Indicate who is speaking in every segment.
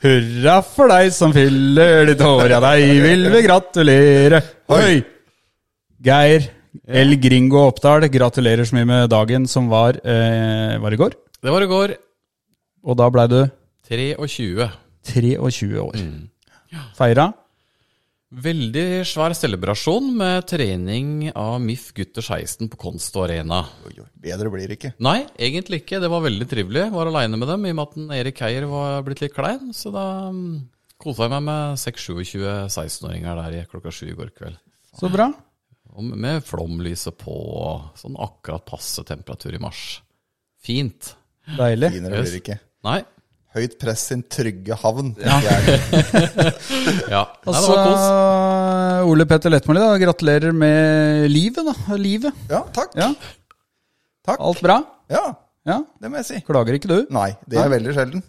Speaker 1: Hurra for deg som fyller ditt hår, ja, deg vil vi gratulere. Oi! Geir El Gringo Oppdal, gratulerer så mye med dagen som var, eh, var i går.
Speaker 2: Det var i går.
Speaker 1: Og da blei du
Speaker 2: 23.
Speaker 1: 23 år.
Speaker 3: Mm.
Speaker 1: Feira.
Speaker 2: Veldig svær celebrasjon med trening av MIF Gutter 16 på Konst og Arena.
Speaker 3: Oi, oi, Bedre blir det ikke.
Speaker 2: Nei, egentlig ikke. Det var veldig trivelig. Var aleine med dem i og med at en Erik Heier var blitt litt klein. Så da mm, kosa jeg meg med 6-27 16-åringer der i klokka sju i går kveld.
Speaker 1: Så bra.
Speaker 2: Og med flomlyset på, og sånn akkurat passe temperatur i mars. Fint.
Speaker 1: Deilig.
Speaker 3: Finere blir det ikke.
Speaker 2: Nei.
Speaker 3: Høyt press sin trygge havn. Det er det.
Speaker 2: Ja. Nei,
Speaker 1: Og
Speaker 2: det
Speaker 1: så
Speaker 2: var kos.
Speaker 1: Ole Petter Lettmoli, da. Gratulerer med livet, da. Livet.
Speaker 3: Ja, takk.
Speaker 1: Ja.
Speaker 3: Takk.
Speaker 1: Alt bra?
Speaker 3: Ja,
Speaker 1: Ja.
Speaker 3: det må jeg si.
Speaker 1: Klager ikke du?
Speaker 3: Nei, det er veldig sjelden.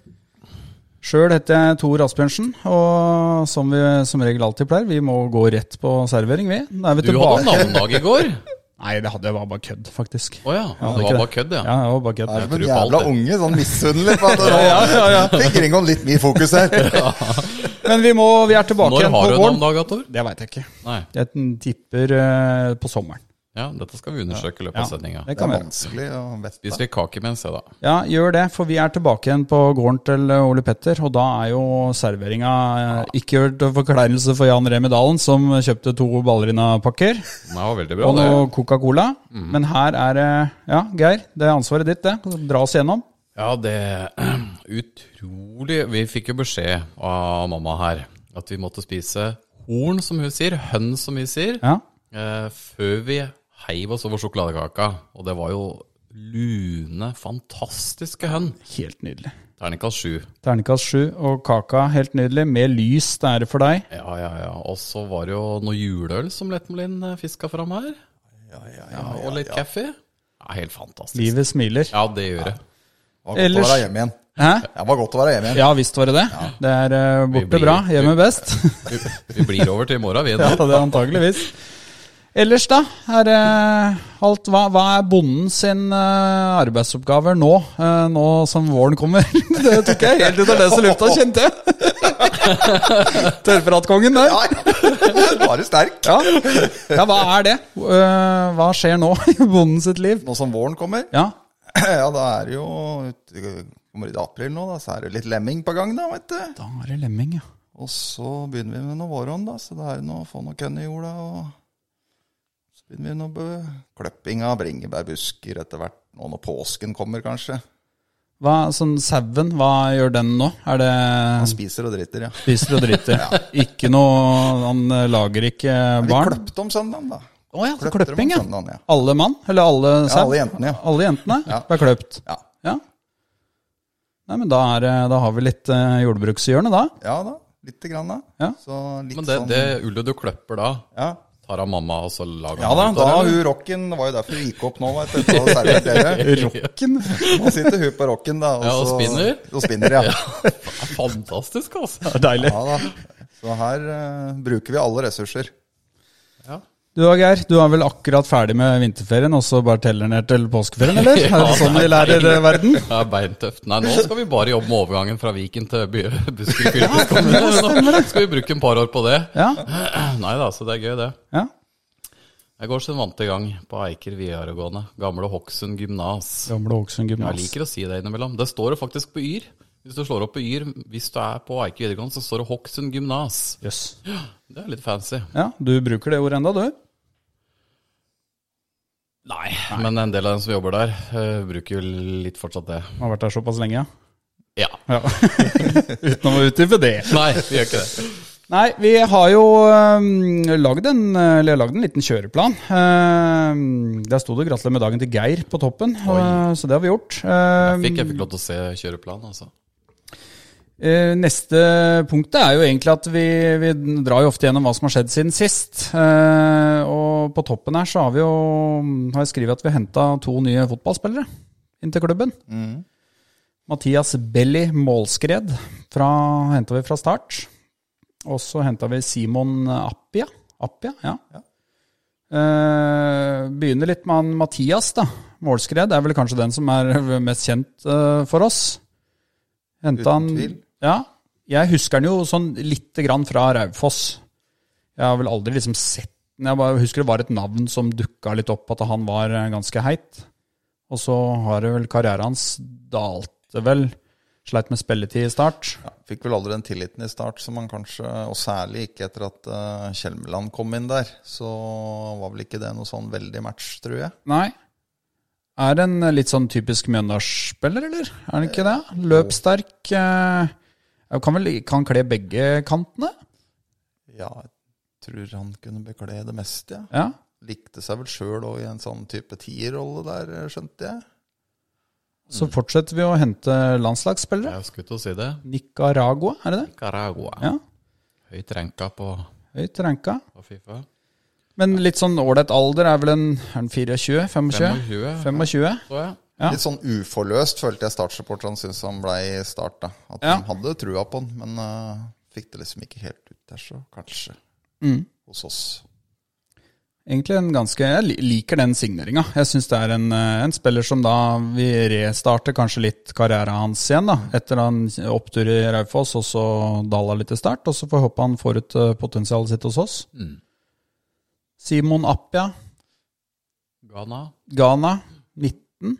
Speaker 1: Sjøl heter jeg Tor Asbjørnsen, og som vi som regel alltid pleier, vi må gå rett på servering, vi. Da er vi
Speaker 2: Du hadde
Speaker 1: tilbake.
Speaker 2: navnedag i går.
Speaker 1: Nei, det hadde jeg var bare kødd, faktisk.
Speaker 2: Å ja. Det
Speaker 1: ikke
Speaker 2: var bare kødd,
Speaker 1: Ja,
Speaker 2: ja.
Speaker 1: det var bare kødd.
Speaker 3: Er
Speaker 2: tror
Speaker 3: det en
Speaker 2: på alt,
Speaker 3: jævla
Speaker 2: jeg.
Speaker 3: unge, sånn misunnelig. på at- Fikk Ringon litt mye fokus her.
Speaker 1: Men vi, må, vi er tilbake
Speaker 2: Når
Speaker 1: igjen på
Speaker 2: har du
Speaker 1: våren.
Speaker 2: navnedag, Tor?
Speaker 1: Det veit jeg ikke.
Speaker 2: Nei.
Speaker 1: Jeg tipper eh, på sommeren.
Speaker 2: Ja, dette skal vi undersøke i løpet
Speaker 1: Ja,
Speaker 2: av sendinga.
Speaker 1: det
Speaker 3: Det
Speaker 1: kan
Speaker 3: er
Speaker 1: være.
Speaker 3: vanskelig å vite.
Speaker 2: Spiser litt kake mens, jeg, da.
Speaker 1: Ja, gjør det, for vi er tilbake igjen på gården til eh, Ole Petter, og da er jo serveringa eh, ikke gjort til forkleinelse for Jan Remi Dalen, som kjøpte to ballerinapakker
Speaker 2: Det var veldig bra,
Speaker 1: og
Speaker 2: det.
Speaker 1: noe Coca-Cola. Men her er det Ja, Geir, det er ansvaret ditt, det. Dra oss gjennom.
Speaker 2: Ja, det Utrolig Vi fikk jo beskjed av mamma her at vi måtte spise horn, som hun sier, hønn, som vi sier,
Speaker 1: Ja.
Speaker 2: eh, før vi heiv oss over sjokoladekaka. Og det var jo lune, fantastiske hønn.
Speaker 1: Helt nydelig.
Speaker 2: Terningkast sju.
Speaker 1: Ternekast sju og kaka, helt nydelig. Med lys, det er det for deg.
Speaker 2: Ja, ja, ja. Og så var det jo noe juleøl som Lettmelin eh, fiska fram her. Ja, ja, ja. Og litt kaffe. Ja, helt fantastisk.
Speaker 1: Livet smiler.
Speaker 2: Ja, det gjør det.
Speaker 3: Det var godt
Speaker 1: Ellers-
Speaker 3: å være hjemme igjen.
Speaker 1: Hæ?
Speaker 3: Det var godt å være hjemme igjen.
Speaker 1: Ja visst var det det. Det er eh, borte
Speaker 2: blir-
Speaker 1: bra, hjemme best.
Speaker 2: Vi, vi blir over til i morgen, vi.
Speaker 1: Ja,
Speaker 2: nå.
Speaker 1: det er antageligvis. Ellers, da? Er eh, alt Hva, hva er bonden sin eh, arbeidsoppgaver nå? eh, nå som våren kommer? det tok jeg helt ut av løse lufta, kjente jeg. Tørrpratkongen der.
Speaker 3: Ja, Bare sterk.
Speaker 1: Ja. ja, hva er det? Eh, hva skjer nå i bonden sitt liv?
Speaker 3: Nå som våren kommer,
Speaker 1: Ja,
Speaker 3: ja, da er det jo Kommer det i april nå, da, så er det litt lemming på gang, da, vet du.
Speaker 1: da er det lemming, ja.
Speaker 3: Og så begynner vi med noe våron, da, så det er noe å få noe kønn i jorda, og så begynner vi noe bø- kløpping av bringebærbusker etter hvert, nå når påsken kommer, kanskje.
Speaker 1: Hva, sånn Sauen, hva gjør den nå? Er det
Speaker 3: Spiser og driter, ja.
Speaker 1: Spiser og driter. Ikke noe Han eh, lager ikke
Speaker 3: Vi
Speaker 1: barn?
Speaker 3: kløpte om søndagen, da.
Speaker 1: Å ja, så
Speaker 3: kløpte om
Speaker 1: kløpping, ja.
Speaker 3: søndagen, ja.
Speaker 1: Alle mann? Eller alle
Speaker 3: sånn. Ja,
Speaker 1: sau?
Speaker 3: alle jentene, ja.
Speaker 1: Alle jentene
Speaker 3: Ja.
Speaker 1: ble kløpt.
Speaker 3: Ja.
Speaker 1: Ja. Nei, men da, er, det- da har vi litt eh, jordbrukshjørne, da.
Speaker 3: Ja da, lite grann da.
Speaker 1: Ja.
Speaker 3: Så litt
Speaker 2: Men det,
Speaker 3: sånn
Speaker 2: det ullet du kløpper da,
Speaker 3: Ja.
Speaker 2: tar av mamma, og så lager
Speaker 3: ja da,
Speaker 2: hun ut
Speaker 3: da
Speaker 2: av det,
Speaker 3: hun rocken Det var jo derfor hun gikk opp nå, vet du. for å servere dere.
Speaker 1: Rocken.
Speaker 3: Nå sitter hun på rocken, da.
Speaker 2: Ja, og
Speaker 3: så-
Speaker 2: spinner.
Speaker 3: Og spinner, ja.
Speaker 2: eller? Det er Fantastisk, altså.
Speaker 1: Deilig.
Speaker 3: ja da. Så her eh, bruker vi alle ressurser.
Speaker 1: Du da, Geir. Du er vel akkurat ferdig med vinterferien, og så bare teller ned til påskeferien, eller? er det sånn vi lærer eh, verden?
Speaker 2: Det er beintøft. Nei, nå skal vi bare jobbe med overgangen fra Viken til by- Buskerud fylkeskommune. Nå skal vi bruke en par år på det.
Speaker 1: Ja.
Speaker 2: Nei da, så det er gøy, det.
Speaker 1: ja.
Speaker 2: Jeg går sin vante gang på Eiker videregående. Gamle Hokksund gymnas.
Speaker 1: Gamle Hokksund
Speaker 2: Jeg
Speaker 1: gymnas.
Speaker 2: liker å si det innimellom. Det står det faktisk på Yr. Hvis du slår opp på Yr, hvis du er på Eiker videregående, så står det Hokksund gymnas.
Speaker 1: Jøss.
Speaker 2: Det er litt fancy.
Speaker 1: Ja, du bruker det ordet enda, du?
Speaker 2: Nei, men en del av dem som jobber der, eh, bruker jo litt fortsatt det.
Speaker 1: Har vært der såpass lenge, ja.
Speaker 2: Ja.
Speaker 1: ja. Uten å utdype det.
Speaker 2: Nei, vi gjør ikke det.
Speaker 1: Nei, vi har jo øhm, lagd en, eller lagd en liten kjøreplan. Ehm, der sto det 'Gratulerer med dagen' til Geir på toppen, og, så det har vi gjort. Ehm,
Speaker 2: Fikk, jeg fikk lov til å se kjøreplanen, altså.
Speaker 1: eh, neste punktet er jo egentlig at vi, vi drar jo ofte gjennom hva som har skjedd siden sist. Eh, og på toppen her så har vi jo har jeg skrevet at vi har henta to nye fotballspillere inn til klubben. Mathias Belly Målskred henta vi fra start. Og så henta vi Simon Appia. Appia, ja. Eh, begynner litt med han Mathias, da. Målskred er vel kanskje den som er mest kjent eh, for oss. Henta
Speaker 3: Uten
Speaker 1: han
Speaker 3: tvil.
Speaker 1: Ja. Jeg husker den jo sånn lite grann fra Raufoss. Jeg har vel aldri liksom sett den. Jeg bare husker det var et navn som dukka litt opp, at han var eh, ganske heit. Og så har det vel karrieren hans dalte vel. Sleit med spilletid i start.
Speaker 3: Ja, fikk vel aldri den tilliten i start, som han kanskje, og særlig ikke etter at eh, Kjelmeland kom inn der. Så var vel ikke det noe sånn veldig match, tror jeg.
Speaker 1: Nei. Er en litt sånn typisk Mjøndalsspiller, eller? Er han ikke det? Løpssterk. eh, Kan vel kan kle begge kantene?
Speaker 3: Ja, jeg tror han kunne bekle det meste, ja.
Speaker 1: Ja.
Speaker 3: Likte seg vel sjøl òg i en sånn type tierrolle der, eh, skjønte jeg.
Speaker 1: Så fortsetter vi å hente landslagsspillere.
Speaker 2: Jeg skulle til å si det.
Speaker 1: Nicaragua, er det det?
Speaker 2: Caragua.
Speaker 1: Ja.
Speaker 2: Høyt ranka på,
Speaker 1: Høyt ranka.
Speaker 2: på Fifa.
Speaker 1: Men litt sånn ålreit alder er vel en er den 24? 25?
Speaker 2: 25,
Speaker 1: 25?
Speaker 2: så jeg.
Speaker 1: Ja.
Speaker 3: Litt sånn uforløst følte jeg startsupporterne syntes han ble i start. da At
Speaker 1: Ja.
Speaker 3: de hadde trua på han, men eh, fikk det liksom ikke helt ut der, så kanskje
Speaker 1: Mm.
Speaker 3: hos oss.
Speaker 1: Egentlig en ganske Jeg li- liker den signeringa. Jeg syns det er en, eh, en spiller som da Vi restarter kanskje litt karrieren hans igjen, da. Etter en opptur i Raufoss, og så dala litt i start. Og så får vi håpe han får ut eh, potensialet sitt hos oss.
Speaker 2: Mm.
Speaker 1: Simon Appia,
Speaker 2: Ghana.
Speaker 1: Ghana. 19.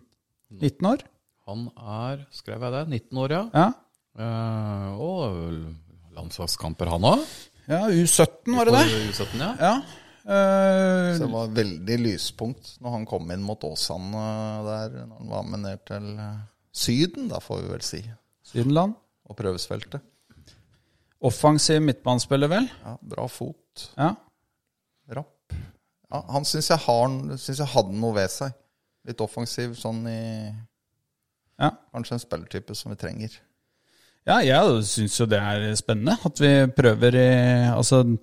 Speaker 1: 19 år.
Speaker 2: Han er, skrev jeg det, 19 år, ja.
Speaker 1: Ja.
Speaker 2: Eh, og landslagskamper, han òg.
Speaker 1: ja U17, var det det?
Speaker 2: U17, ja.
Speaker 1: Ja. Eh,
Speaker 3: Så det var veldig lyspunkt når han kom inn mot Åsane der, når han var med ned til eh, Syden, da får vi vel si,
Speaker 1: Sydenland.
Speaker 3: og prøvesfeltet.
Speaker 1: Offensiv midtbanespiller, vel?
Speaker 3: Ja, bra fot,
Speaker 1: Ja.
Speaker 3: rapp. Ja, han syns jeg, har- syns jeg hadde noe ved seg. Litt offensiv, sånn i
Speaker 1: Ja.
Speaker 3: Kanskje en spillertype som vi trenger.
Speaker 1: Ja, jeg syns jo det er spennende at vi prøver i Altså,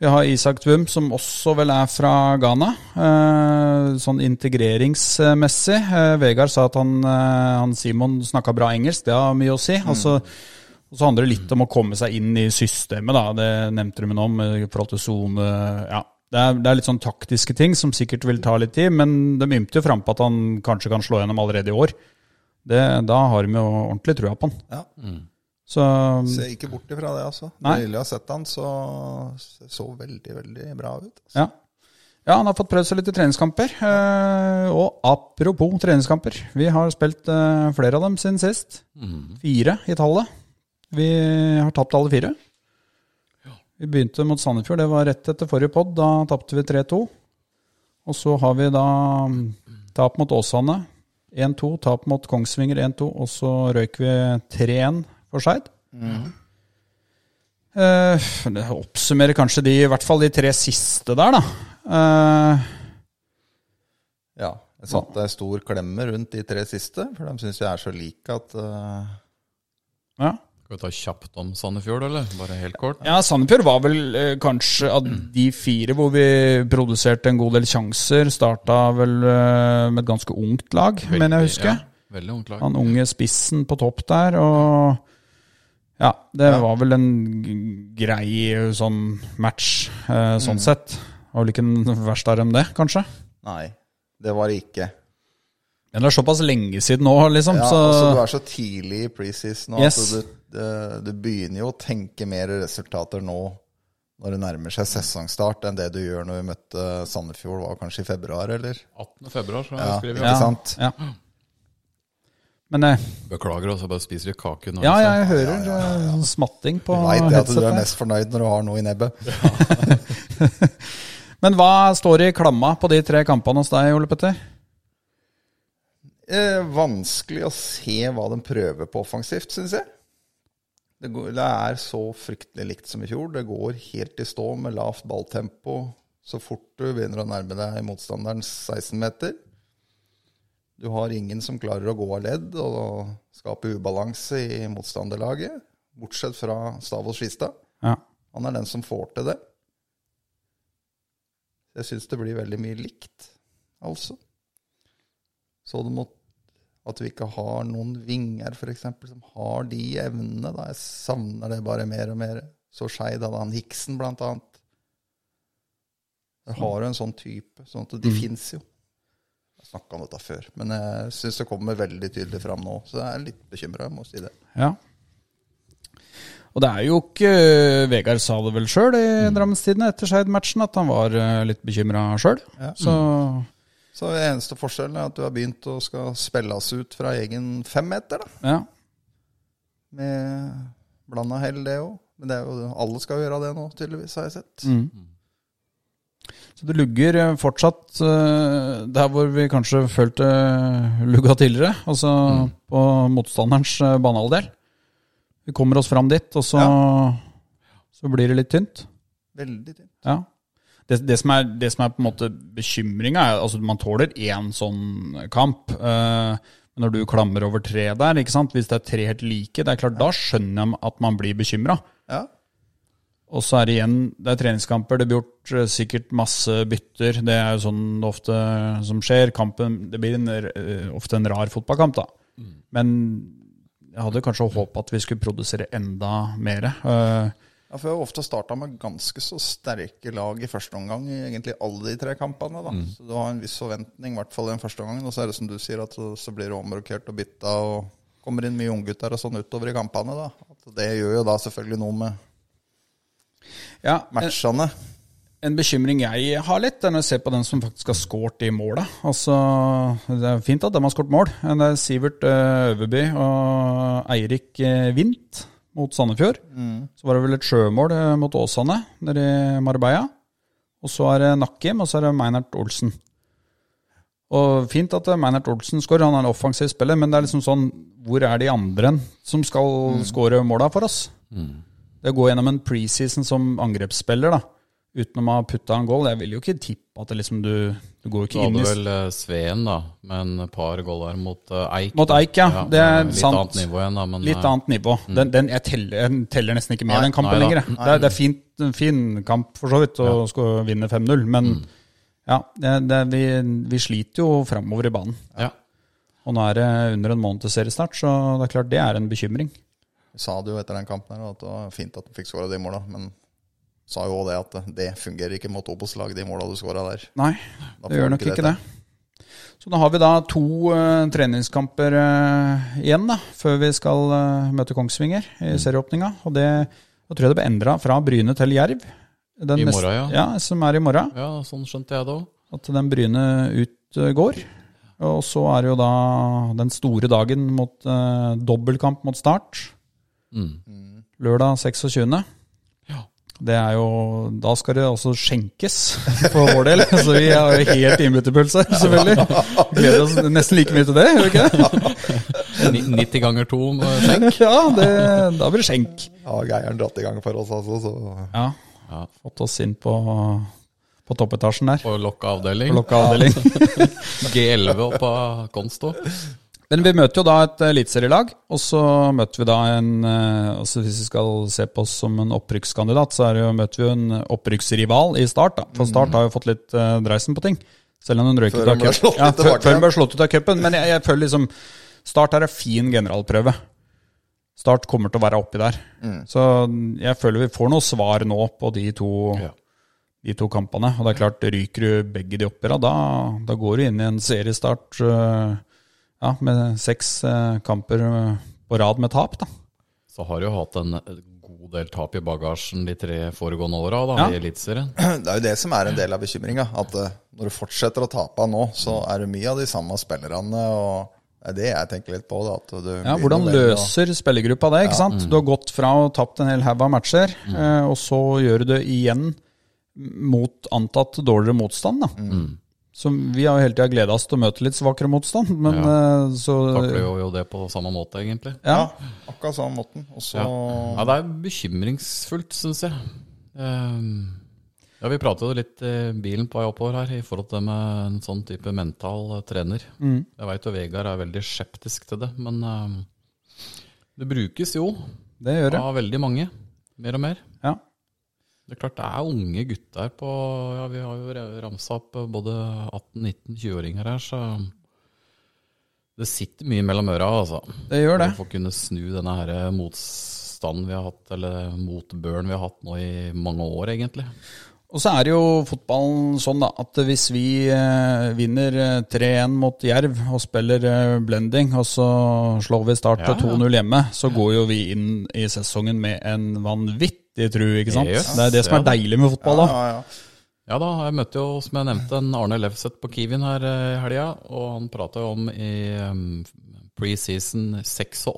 Speaker 1: vi har Isak Tvum, som også vel er fra Ghana. eh, sånn integreringsmessig. Eh, Vegard sa at han, eh, han Simon snakka bra engelsk, det har mye å si. Altså, og så handler det litt om å komme seg inn i systemet, da. Det nevnte du meg om, eh, i forhold til sone Ja. Det er, det er litt sånn taktiske ting som sikkert vil ta litt tid, men de ymter jo frampå at han kanskje kan slå gjennom allerede i år. Det, da har de jo ordentlig trua på han.
Speaker 3: Ja,
Speaker 1: Så
Speaker 3: Ser ikke bort ifra det, altså.
Speaker 1: Nei.
Speaker 3: Nylig har jeg sett han, så så veldig, veldig bra ut. Altså.
Speaker 1: ja. ja, han har fått prøvd seg litt i treningskamper. Eh, Og apropos treningskamper, vi har spilt eh, flere av dem siden sist.
Speaker 2: Mm.
Speaker 1: Fire i tallet. Vi har tapt alle fire. Vi begynte mot Sandefjord, det var rett etter forrige pod. Da tapte vi 3-2. Og så har vi da mm, tap mot Åsane 1-2, tap mot Kongsvinger 1-2, og så røyk vi 3-1 for Skeid. Eh, det oppsummerer kanskje de, i hvert fall de tre siste der, da. Eh,
Speaker 3: Ja. Jeg satte ei stor klemme rundt de tre siste, for de syns jeg er så like at eh,
Speaker 1: ja.
Speaker 2: Skal vi ta kjapt om Sandefjord, eller? Bare helt kort.
Speaker 1: ja, Sandefjord var vel eh, kanskje av de fire hvor vi produserte en god del sjanser. Starta vel eh, med et ganske ungt lag, mener jeg å huske.
Speaker 2: Ja, veldig ungt lag.
Speaker 1: Han unge spissen på topp der, og ja, det var vel en g- grei eh, sånn match, eh,
Speaker 3: Mm.
Speaker 1: sånn sett. Var vel ikke den verste av dem, det, kanskje?
Speaker 3: Nei, det var det ikke.
Speaker 1: Men det er såpass lenge siden nå, liksom,
Speaker 3: Ja,
Speaker 1: så
Speaker 3: altså, du er så tidlig i preseason at
Speaker 1: Yes.
Speaker 3: du, eh, du begynner jo å tenke mer resultater nå når det nærmer seg sesongstart, enn det du gjør når vi møtte Sandefjord, var kanskje i februar, eller?
Speaker 2: 18. februar, så
Speaker 3: Ja,
Speaker 2: skriver
Speaker 3: ikke
Speaker 2: vi.
Speaker 3: sant?
Speaker 1: Ja. Men eh,
Speaker 2: Beklager, altså. Bare spiser vi kake nå.
Speaker 1: ja,
Speaker 2: altså.
Speaker 1: jeg hører eh, sånn smatting på
Speaker 3: Jeg Veit det at du er
Speaker 1: headsetet.
Speaker 3: mest fornøyd når du har noe i nebbet.
Speaker 1: Men hva står i klamma på de tre kampene hos deg, Ole Petter?
Speaker 3: Eh, vanskelig å se hva de prøver på offensivt, syns jeg. Det, går, det er så fryktelig likt som i fjor. Det går helt i stå med lavt balltempo så fort du begynner å nærme deg motstanderens 16-meter. Du har ingen som klarer å gå av ledd og skape ubalanse i motstanderlaget, bortsett fra Stavås Skistad.
Speaker 1: Ja.
Speaker 3: Han er den som får til det. Jeg syns det blir veldig mye likt, altså. Så det må at vi ikke har noen vinger, f.eks., som har de evnene. da. Jeg savner det bare mer og mer. Så Skeid hadde han Hiksen, blant annet. Der har du en sånn type. sånn at De fins jo. Jeg snakka om dette før, men jeg syns det kommer veldig tydelig fram nå. Så jeg er litt bekymra, må si det.
Speaker 1: Ja. Og det er jo ikke eh, Vegard sa det vel sjøl i Drammenstidene etter Skeid-matchen, at han var eh, litt bekymra sjøl.
Speaker 3: Ja.
Speaker 1: Så
Speaker 3: Så det eneste forskjellen er at du har begynt å skal spilles ut fra egen femmeter, da.
Speaker 1: ja.
Speaker 3: Med blanda hell, det òg. Men det er jo, alle skal gjøre det nå, tydeligvis, har jeg sett.
Speaker 1: Mm. Så det lugger eh, fortsatt eh, der hvor vi kanskje følte eh, lugga tidligere, altså på motstanderens eh, banehalvdel. Vi kommer oss fram dit, og så, så blir det litt tynt.
Speaker 3: Veldig tynt.
Speaker 1: Ja. Det, det, som er, det som er på en måte bekymringa, er altså man tåler én sånn kamp. eh, men når du klammer over tre der, ikke sant? hvis det er tre helt like, det er klart, da skjønner jeg at man blir bekymra.
Speaker 3: Ja.
Speaker 1: Og så er det igjen det er treningskamper. Det blir gjort eh, sikkert masse bytter. Det er jo sånn det ofte som skjer. Kampen, det blir en, r- eh, ofte en rar fotballkamp, da. Men jeg hadde kanskje håpet at vi skulle produsere enda mer. eh,
Speaker 3: Ja, for jeg har ofte starta med ganske så sterke lag i første omgang i egentlig alle de tre kampene. da.
Speaker 1: Mm.
Speaker 3: Så du har en viss forventning, i hvert fall i den første omgangen. Og så er det som du sier, at så blir det omrokert og bytta, og kommer inn mye unggutter og sånn utover i kampene. da. At det gjør jo da selvfølgelig noe med
Speaker 1: ja, en,
Speaker 3: matchene.
Speaker 1: en bekymring jeg har litt, er når jeg ser på den som faktisk har skåret de måla. Altså, det er fint at de har skåret mål. Men Det er Sivert eh, Øverby og Eirik eh, Vint mot Sandefjord. Så var det vel et sjømål eh, mot Åsane nede i Marbella. Og så er det Nakkim, og så er det Meinert Olsen. Og fint at eh, Meinert Olsen skårer, han er en offensiv spiller, men det er liksom sånn Hvor er de andre som skal
Speaker 2: Mm.
Speaker 1: skåre måla for oss? Det å gå gjennom en preseason som angrepsspiller, da, uten å ha putta en goal Jeg vil jo ikke tippe at det liksom du, du går jo
Speaker 2: Du
Speaker 1: ikke inn
Speaker 2: hadde
Speaker 1: i
Speaker 2: vel eh, Sveen, da, med et par goll der mot eh, Eik.
Speaker 1: Mot Eik, ja. Det er
Speaker 2: litt
Speaker 1: sant.
Speaker 2: annet nivå igjen, da. Men,
Speaker 1: Litt
Speaker 2: eh,
Speaker 1: annet nivå. Den, den jeg, teller, jeg teller nesten ikke med den kampen
Speaker 2: nei da.
Speaker 1: lenger. jeg. Det er, det er fint, en fin kamp for så vidt å skulle vinne 5-0, men
Speaker 2: Mm.
Speaker 1: ja, det, det, vi, vi sliter jo framover i banen.
Speaker 2: Ja.
Speaker 1: Og nå er det under en måned til seriestart, så det er klart det er en bekymring.
Speaker 3: Vi sa det jo etter den kampen her, at det var fint at du fikk skåra de måla, men sa jo òg det at det fungerer ikke mot Obos-lag, de måla du skåra der.
Speaker 1: Nei,
Speaker 3: Da
Speaker 1: det
Speaker 3: får
Speaker 1: gjør
Speaker 3: du
Speaker 1: nok ikke
Speaker 3: dette.
Speaker 1: det. Så nå har vi da to eh, treningskamper eh, igjen da, før vi skal eh, møte Kongsvinger i
Speaker 2: Mm.
Speaker 1: serieåpninga. Og det da tror jeg det ble endra fra Bryne til Jerv. Den
Speaker 2: I
Speaker 1: neste-
Speaker 2: morgen, ja.
Speaker 1: ja. Som er i morgen.
Speaker 2: ja, sånn skjønte jeg det òg.
Speaker 1: At den Bryne ut eh, går. Og så er det jo da den store dagen mot eh, dobbeltkamp mot Start. Lørdag 26.
Speaker 2: Mm. Ja.
Speaker 1: Det er jo, Da skal det også skjenkes, for vår del. Så vi har jo helt innbytterpuls her, selvfølgelig. Gleder oss nesten like mye til det, gjør vi ikke? det?
Speaker 2: Ni- 90 ganger 2 tenk.
Speaker 1: Ja, det, da blir det skjenk.
Speaker 3: Ja, Geiren dratt i gang for oss, altså. Så
Speaker 1: Ja,
Speaker 2: Ja,
Speaker 1: Fått oss inn på, på toppetasjen der.
Speaker 2: på lokka avdeling.
Speaker 1: Lokka avdeling.
Speaker 2: G11 opp av Konsto.
Speaker 1: Men vi møter jo da et eh, eliteserielag, og så møter vi da en eh, altså Hvis vi skal se på oss som en opprykkskandidat, så er det jo, møter vi jo en opprykksrival i Start. da. For Start har jo fått litt eh, dreisen på ting. Selv om hun røyk
Speaker 3: Før
Speaker 1: ut av
Speaker 3: hun ble
Speaker 1: cup-
Speaker 3: slått
Speaker 1: ja,
Speaker 3: litt
Speaker 1: før- før
Speaker 3: tilbake
Speaker 1: hun
Speaker 3: igjen.
Speaker 1: ble slått ut av cupen. Men jeg, jeg føler liksom Start her er fin generalprøve. Start kommer til å være oppi der. Så jeg føler vi får noe svar nå på de to,
Speaker 2: Ja.
Speaker 1: de to kampene. Og det er klart, ryker du begge de oppi da, da, da går du inn i en seriestart øh, ja, med seks eh, kamper øh, på rad med tap, da.
Speaker 2: Så har jo hatt en eh, god del tap i bagasjen de tre foregående åra
Speaker 1: Ja.
Speaker 2: i Eliteserien.
Speaker 3: det er jo det som er en del av bekymringa. At eh, når du fortsetter å tape nå, så er det mye av de samme spillerne. og Det er det jeg tenker litt på. Da, at du
Speaker 1: Ja,
Speaker 3: begynner
Speaker 1: Hvordan
Speaker 3: vel å-
Speaker 1: løser spillergruppa det? ikke sant? Du har gått fra å ha tapt en hel haug av matcher, eh, og så gjør du det igjen mot antatt dårligere motstand. da.
Speaker 2: Mm.
Speaker 1: Så vi har jo hele tida gleda oss til å møte litt svakere motstand, men eh, så
Speaker 2: Takler jo, jo det på samme måte, egentlig.
Speaker 1: ja.
Speaker 3: Ja, akkurat samme måten. Og så
Speaker 2: Ja. ja, det er bekymringsfullt, syns jeg. Ehm, ja, Vi pratet jo litt i bilen på vei oppover her i forhold til det med en sånn type mental eh, trener.
Speaker 1: mm,
Speaker 2: Jeg veit jo Vegard er veldig skeptisk til det, men ehm, det brukes jo
Speaker 1: Det gjør det.
Speaker 2: av veldig mange. Mer og mer.
Speaker 1: Ja.
Speaker 2: Det er klart det er unge gutter på ja, Vi har jo re- ramsa opp både 18-19-20-åringer her, så det sitter mye mellom øra, altså.
Speaker 1: Det gjør det.
Speaker 2: For å kunne snu denne her motstanden vi har hatt, eller motbøren vi har hatt nå i mange år, egentlig.
Speaker 1: Og Og så er det jo fotballen sånn da, at hvis vi eh, vinner eh, 3-1 mot Jerv og spiller eh, blending, og så slår vi Start
Speaker 2: Ja,
Speaker 1: til
Speaker 2: ja.
Speaker 1: 2-0 hjemme, så går jo vi inn i sesongen med en vanvittig tru, ikke sant?
Speaker 2: Yes,
Speaker 1: det er det som
Speaker 2: ja
Speaker 1: er
Speaker 2: da.
Speaker 1: deilig med fotball da.
Speaker 3: Ja, ja,
Speaker 2: Ja da, jeg møtte jo, som jeg nevnte, en Arne Levseth på Kiwien her eh, i helga. Og han prata jo om i um, preseason 86.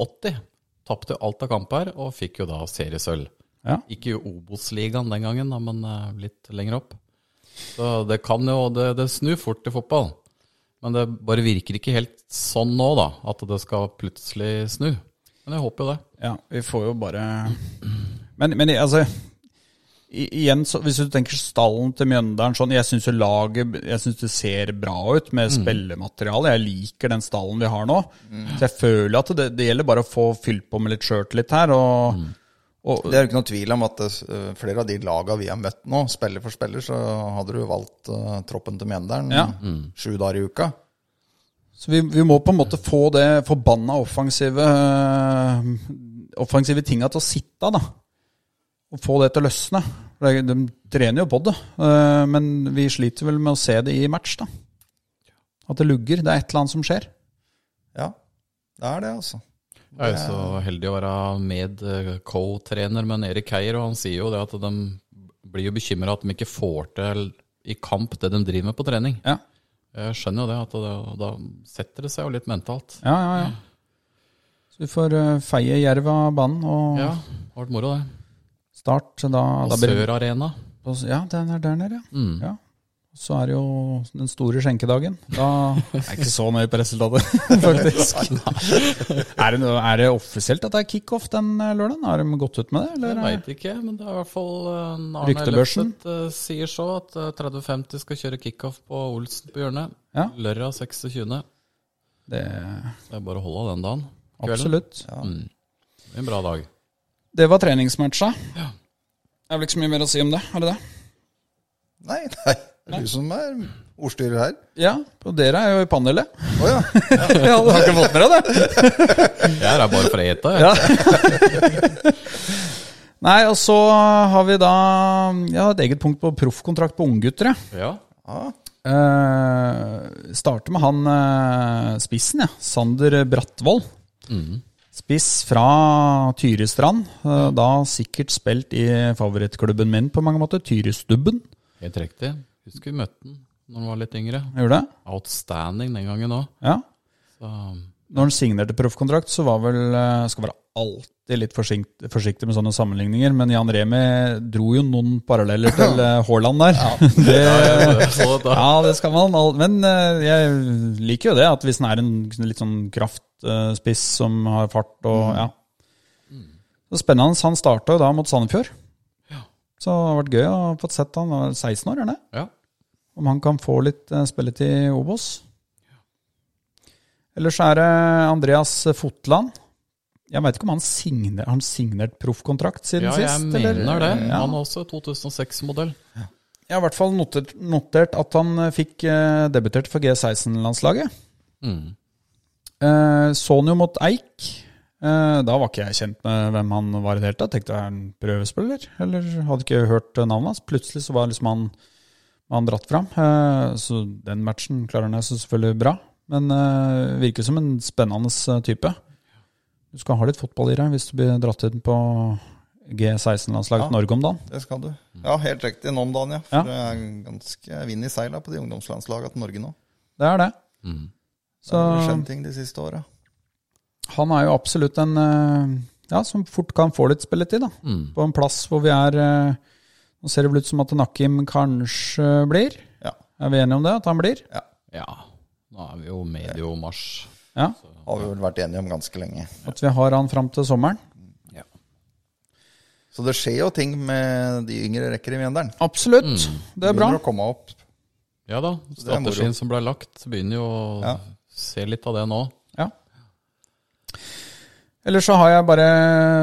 Speaker 2: Tapte jo alt av kamper og fikk jo da seriesølv.
Speaker 1: Ja.
Speaker 2: Ikke i Obos-ligaen den gangen, da, men eh, litt lenger opp. Så det kan jo Det, det snur fort i fotball. Men det bare virker ikke helt sånn nå, da. At det skal plutselig snu. Men jeg håper jo det.
Speaker 1: Ja, vi får jo bare Men, men altså i- Igjen, så, hvis du tenker stallen til Mjøndalen sånn, Jeg syns det ser bra ut med spillemateriale. Jeg liker den stallen vi har nå. Så jeg føler at det, det gjelder bare å få fylt på med litt skjørt litt her. Og, og,
Speaker 3: Det er jo ikke noe tvil om at eh, flere av de laga vi har møtt nå, spiller for spiller, så hadde du valgt eh, troppen til Mjøndalen
Speaker 1: Ja. Mm.
Speaker 3: sju dager i uka.
Speaker 1: så vi, vi må på en måte få det forbanna offensive øh, Offensive tinga til å sitte av, da. Og få det til å løsne. For det- De trener jo på det, øh, men vi sliter vel med å se det i match, da. At det lugger. Det er et eller annet som skjer.
Speaker 3: Ja, det er det, altså.
Speaker 2: Jeg er jo så heldig å være med eh, co-trener med en Erik Heier, og han sier jo det at de blir jo bekymra at de ikke får til i kamp det de driver med på trening.
Speaker 1: Ja,
Speaker 2: Jeg skjønner jo det, at det, da setter det seg jo litt mentalt.
Speaker 1: ja, ja. ja. Så vi får øh, feie Jerv av banen, og
Speaker 2: Ja, det har vært moro, det.
Speaker 1: start så da,
Speaker 2: Og
Speaker 1: da blir det-
Speaker 2: Sør Arena.
Speaker 1: på- Ja, den er der nede, ja. ja. Så er det jo den store skjenkedagen. Da er jeg ikke så nøye på resultatet, faktisk. er, det noe, er det offisielt at det er kickoff den eh, lørdagen? Har de gått ut med det?
Speaker 2: Jeg
Speaker 1: Eller?
Speaker 2: veit ikke, men det er i hvert fall eh, Arne
Speaker 1: Ryktebørsen.
Speaker 2: Løfseth eh, sier så at eh, 30-50 skal kjøre kickoff på Olsen på hjørnet.
Speaker 1: Ja.
Speaker 2: Lørdag 26.
Speaker 1: Det,
Speaker 2: Det er bare å holde av den dagen. Kvelden. Mm.
Speaker 1: absolutt.
Speaker 2: Det blir En bra dag.
Speaker 1: Det var treningsmatcha. Det er vel ikke så mye mer å si om det? Er det det?
Speaker 3: Nei, nei. Det er du som er ordstyrer her.
Speaker 1: Ja, og dere er jo i panelet.
Speaker 3: Å ja.
Speaker 1: ja, du har ikke fått med deg det?
Speaker 2: Jeg er her bare for å ete. jeg.
Speaker 1: Nei, og så har vi da Jeg har et eget punkt på proffkontrakt på unggutter, jeg.
Speaker 2: Ja.
Speaker 3: Ja.
Speaker 1: Eh, starter med han eh, spissen, ja. Sander Brattvoll. Spiss fra Tyrestrand. eh, Da sikkert spilt i favorittklubben min på mange måter, Tyrestubben.
Speaker 2: Helt riktig. Husker vi møtte den når han var litt yngre.
Speaker 1: Gjorde det?
Speaker 2: Outstanding den gangen òg.
Speaker 1: Ja.
Speaker 2: Så
Speaker 1: Når han signerte proffkontrakt, så var vel eh, Skal være alltid litt forsikt, forsiktig med sånne sammenligninger, men Jan Remi dro jo noen paralleller til eh, Haaland der. det,
Speaker 2: så da.
Speaker 1: Ja, det skal man. al- Men eh, jeg liker jo det, at hvis den er en litt sånn kraftspiss som har fart
Speaker 2: Mm.
Speaker 1: og ja. Så spennende. Han starta jo da mot Sandefjord. Så det har vært gøy å få sett han. Han er 16 år, er han det?
Speaker 2: Ja.
Speaker 1: Om han kan få litt eh, spilletid i Obos. Ellers er det Andreas Fotland. Jeg veit ikke om han signer, har han signert proffkontrakt siden
Speaker 2: ja, jeg
Speaker 1: sist? eller?
Speaker 2: mener det.
Speaker 1: Ja.
Speaker 2: Han er også 2006-modell.
Speaker 1: Jeg har i hvert fall notert, notert at han eh, fikk eh, debutert for G16-landslaget.
Speaker 2: Mm.
Speaker 1: Eh, så han jo mot Eik. Eh, da var ikke jeg kjent med hvem han var i det hele tatt. Tenkte er han prøvespiller, eller hadde ikke hørt eh, navnet hans. Plutselig så var liksom han, var han dratt fram. Eh, så den matchen klarer han seg selvfølgelig bra. Men eh, virker som en spennende eh, type. Du skal ha litt fotball i deg hvis du blir dratt inn på G16-landslaget
Speaker 3: Ja.
Speaker 1: til Norge om dagen.
Speaker 3: Det skal du. Ja, helt riktig. Nå om dagen, ja.
Speaker 1: Ja.
Speaker 3: For Det er ganske vind i seila på de ungdomslandslagene til Norge nå.
Speaker 1: Det er det.
Speaker 2: Mm.
Speaker 3: Så det har skjedd ting de siste åra.
Speaker 1: han er jo absolutt en eh, ja, som fort kan få litt spilletid. da.
Speaker 2: Mm.
Speaker 1: På en plass hvor vi er eh, Nå ser det vel ut som at Nakim kanskje blir.
Speaker 3: Ja.
Speaker 1: Er vi enige om det? At han blir?
Speaker 2: Ja. Nå er vi jo medio mars.
Speaker 1: Ja.
Speaker 3: Har vi vel vært enige om ganske lenge.
Speaker 1: At vi har han fram til sommeren?
Speaker 2: Ja.
Speaker 3: Så det skjer jo ting med de yngre rekker i Mjøndalen.
Speaker 1: Absolutt. Det er bra.
Speaker 3: Begynner å komme opp.
Speaker 2: ja da.
Speaker 3: det er moro.
Speaker 2: Strategien som ble lagt, begynner jo å
Speaker 3: Ja.
Speaker 2: se litt av det nå.
Speaker 1: Ja. Ellers så har jeg bare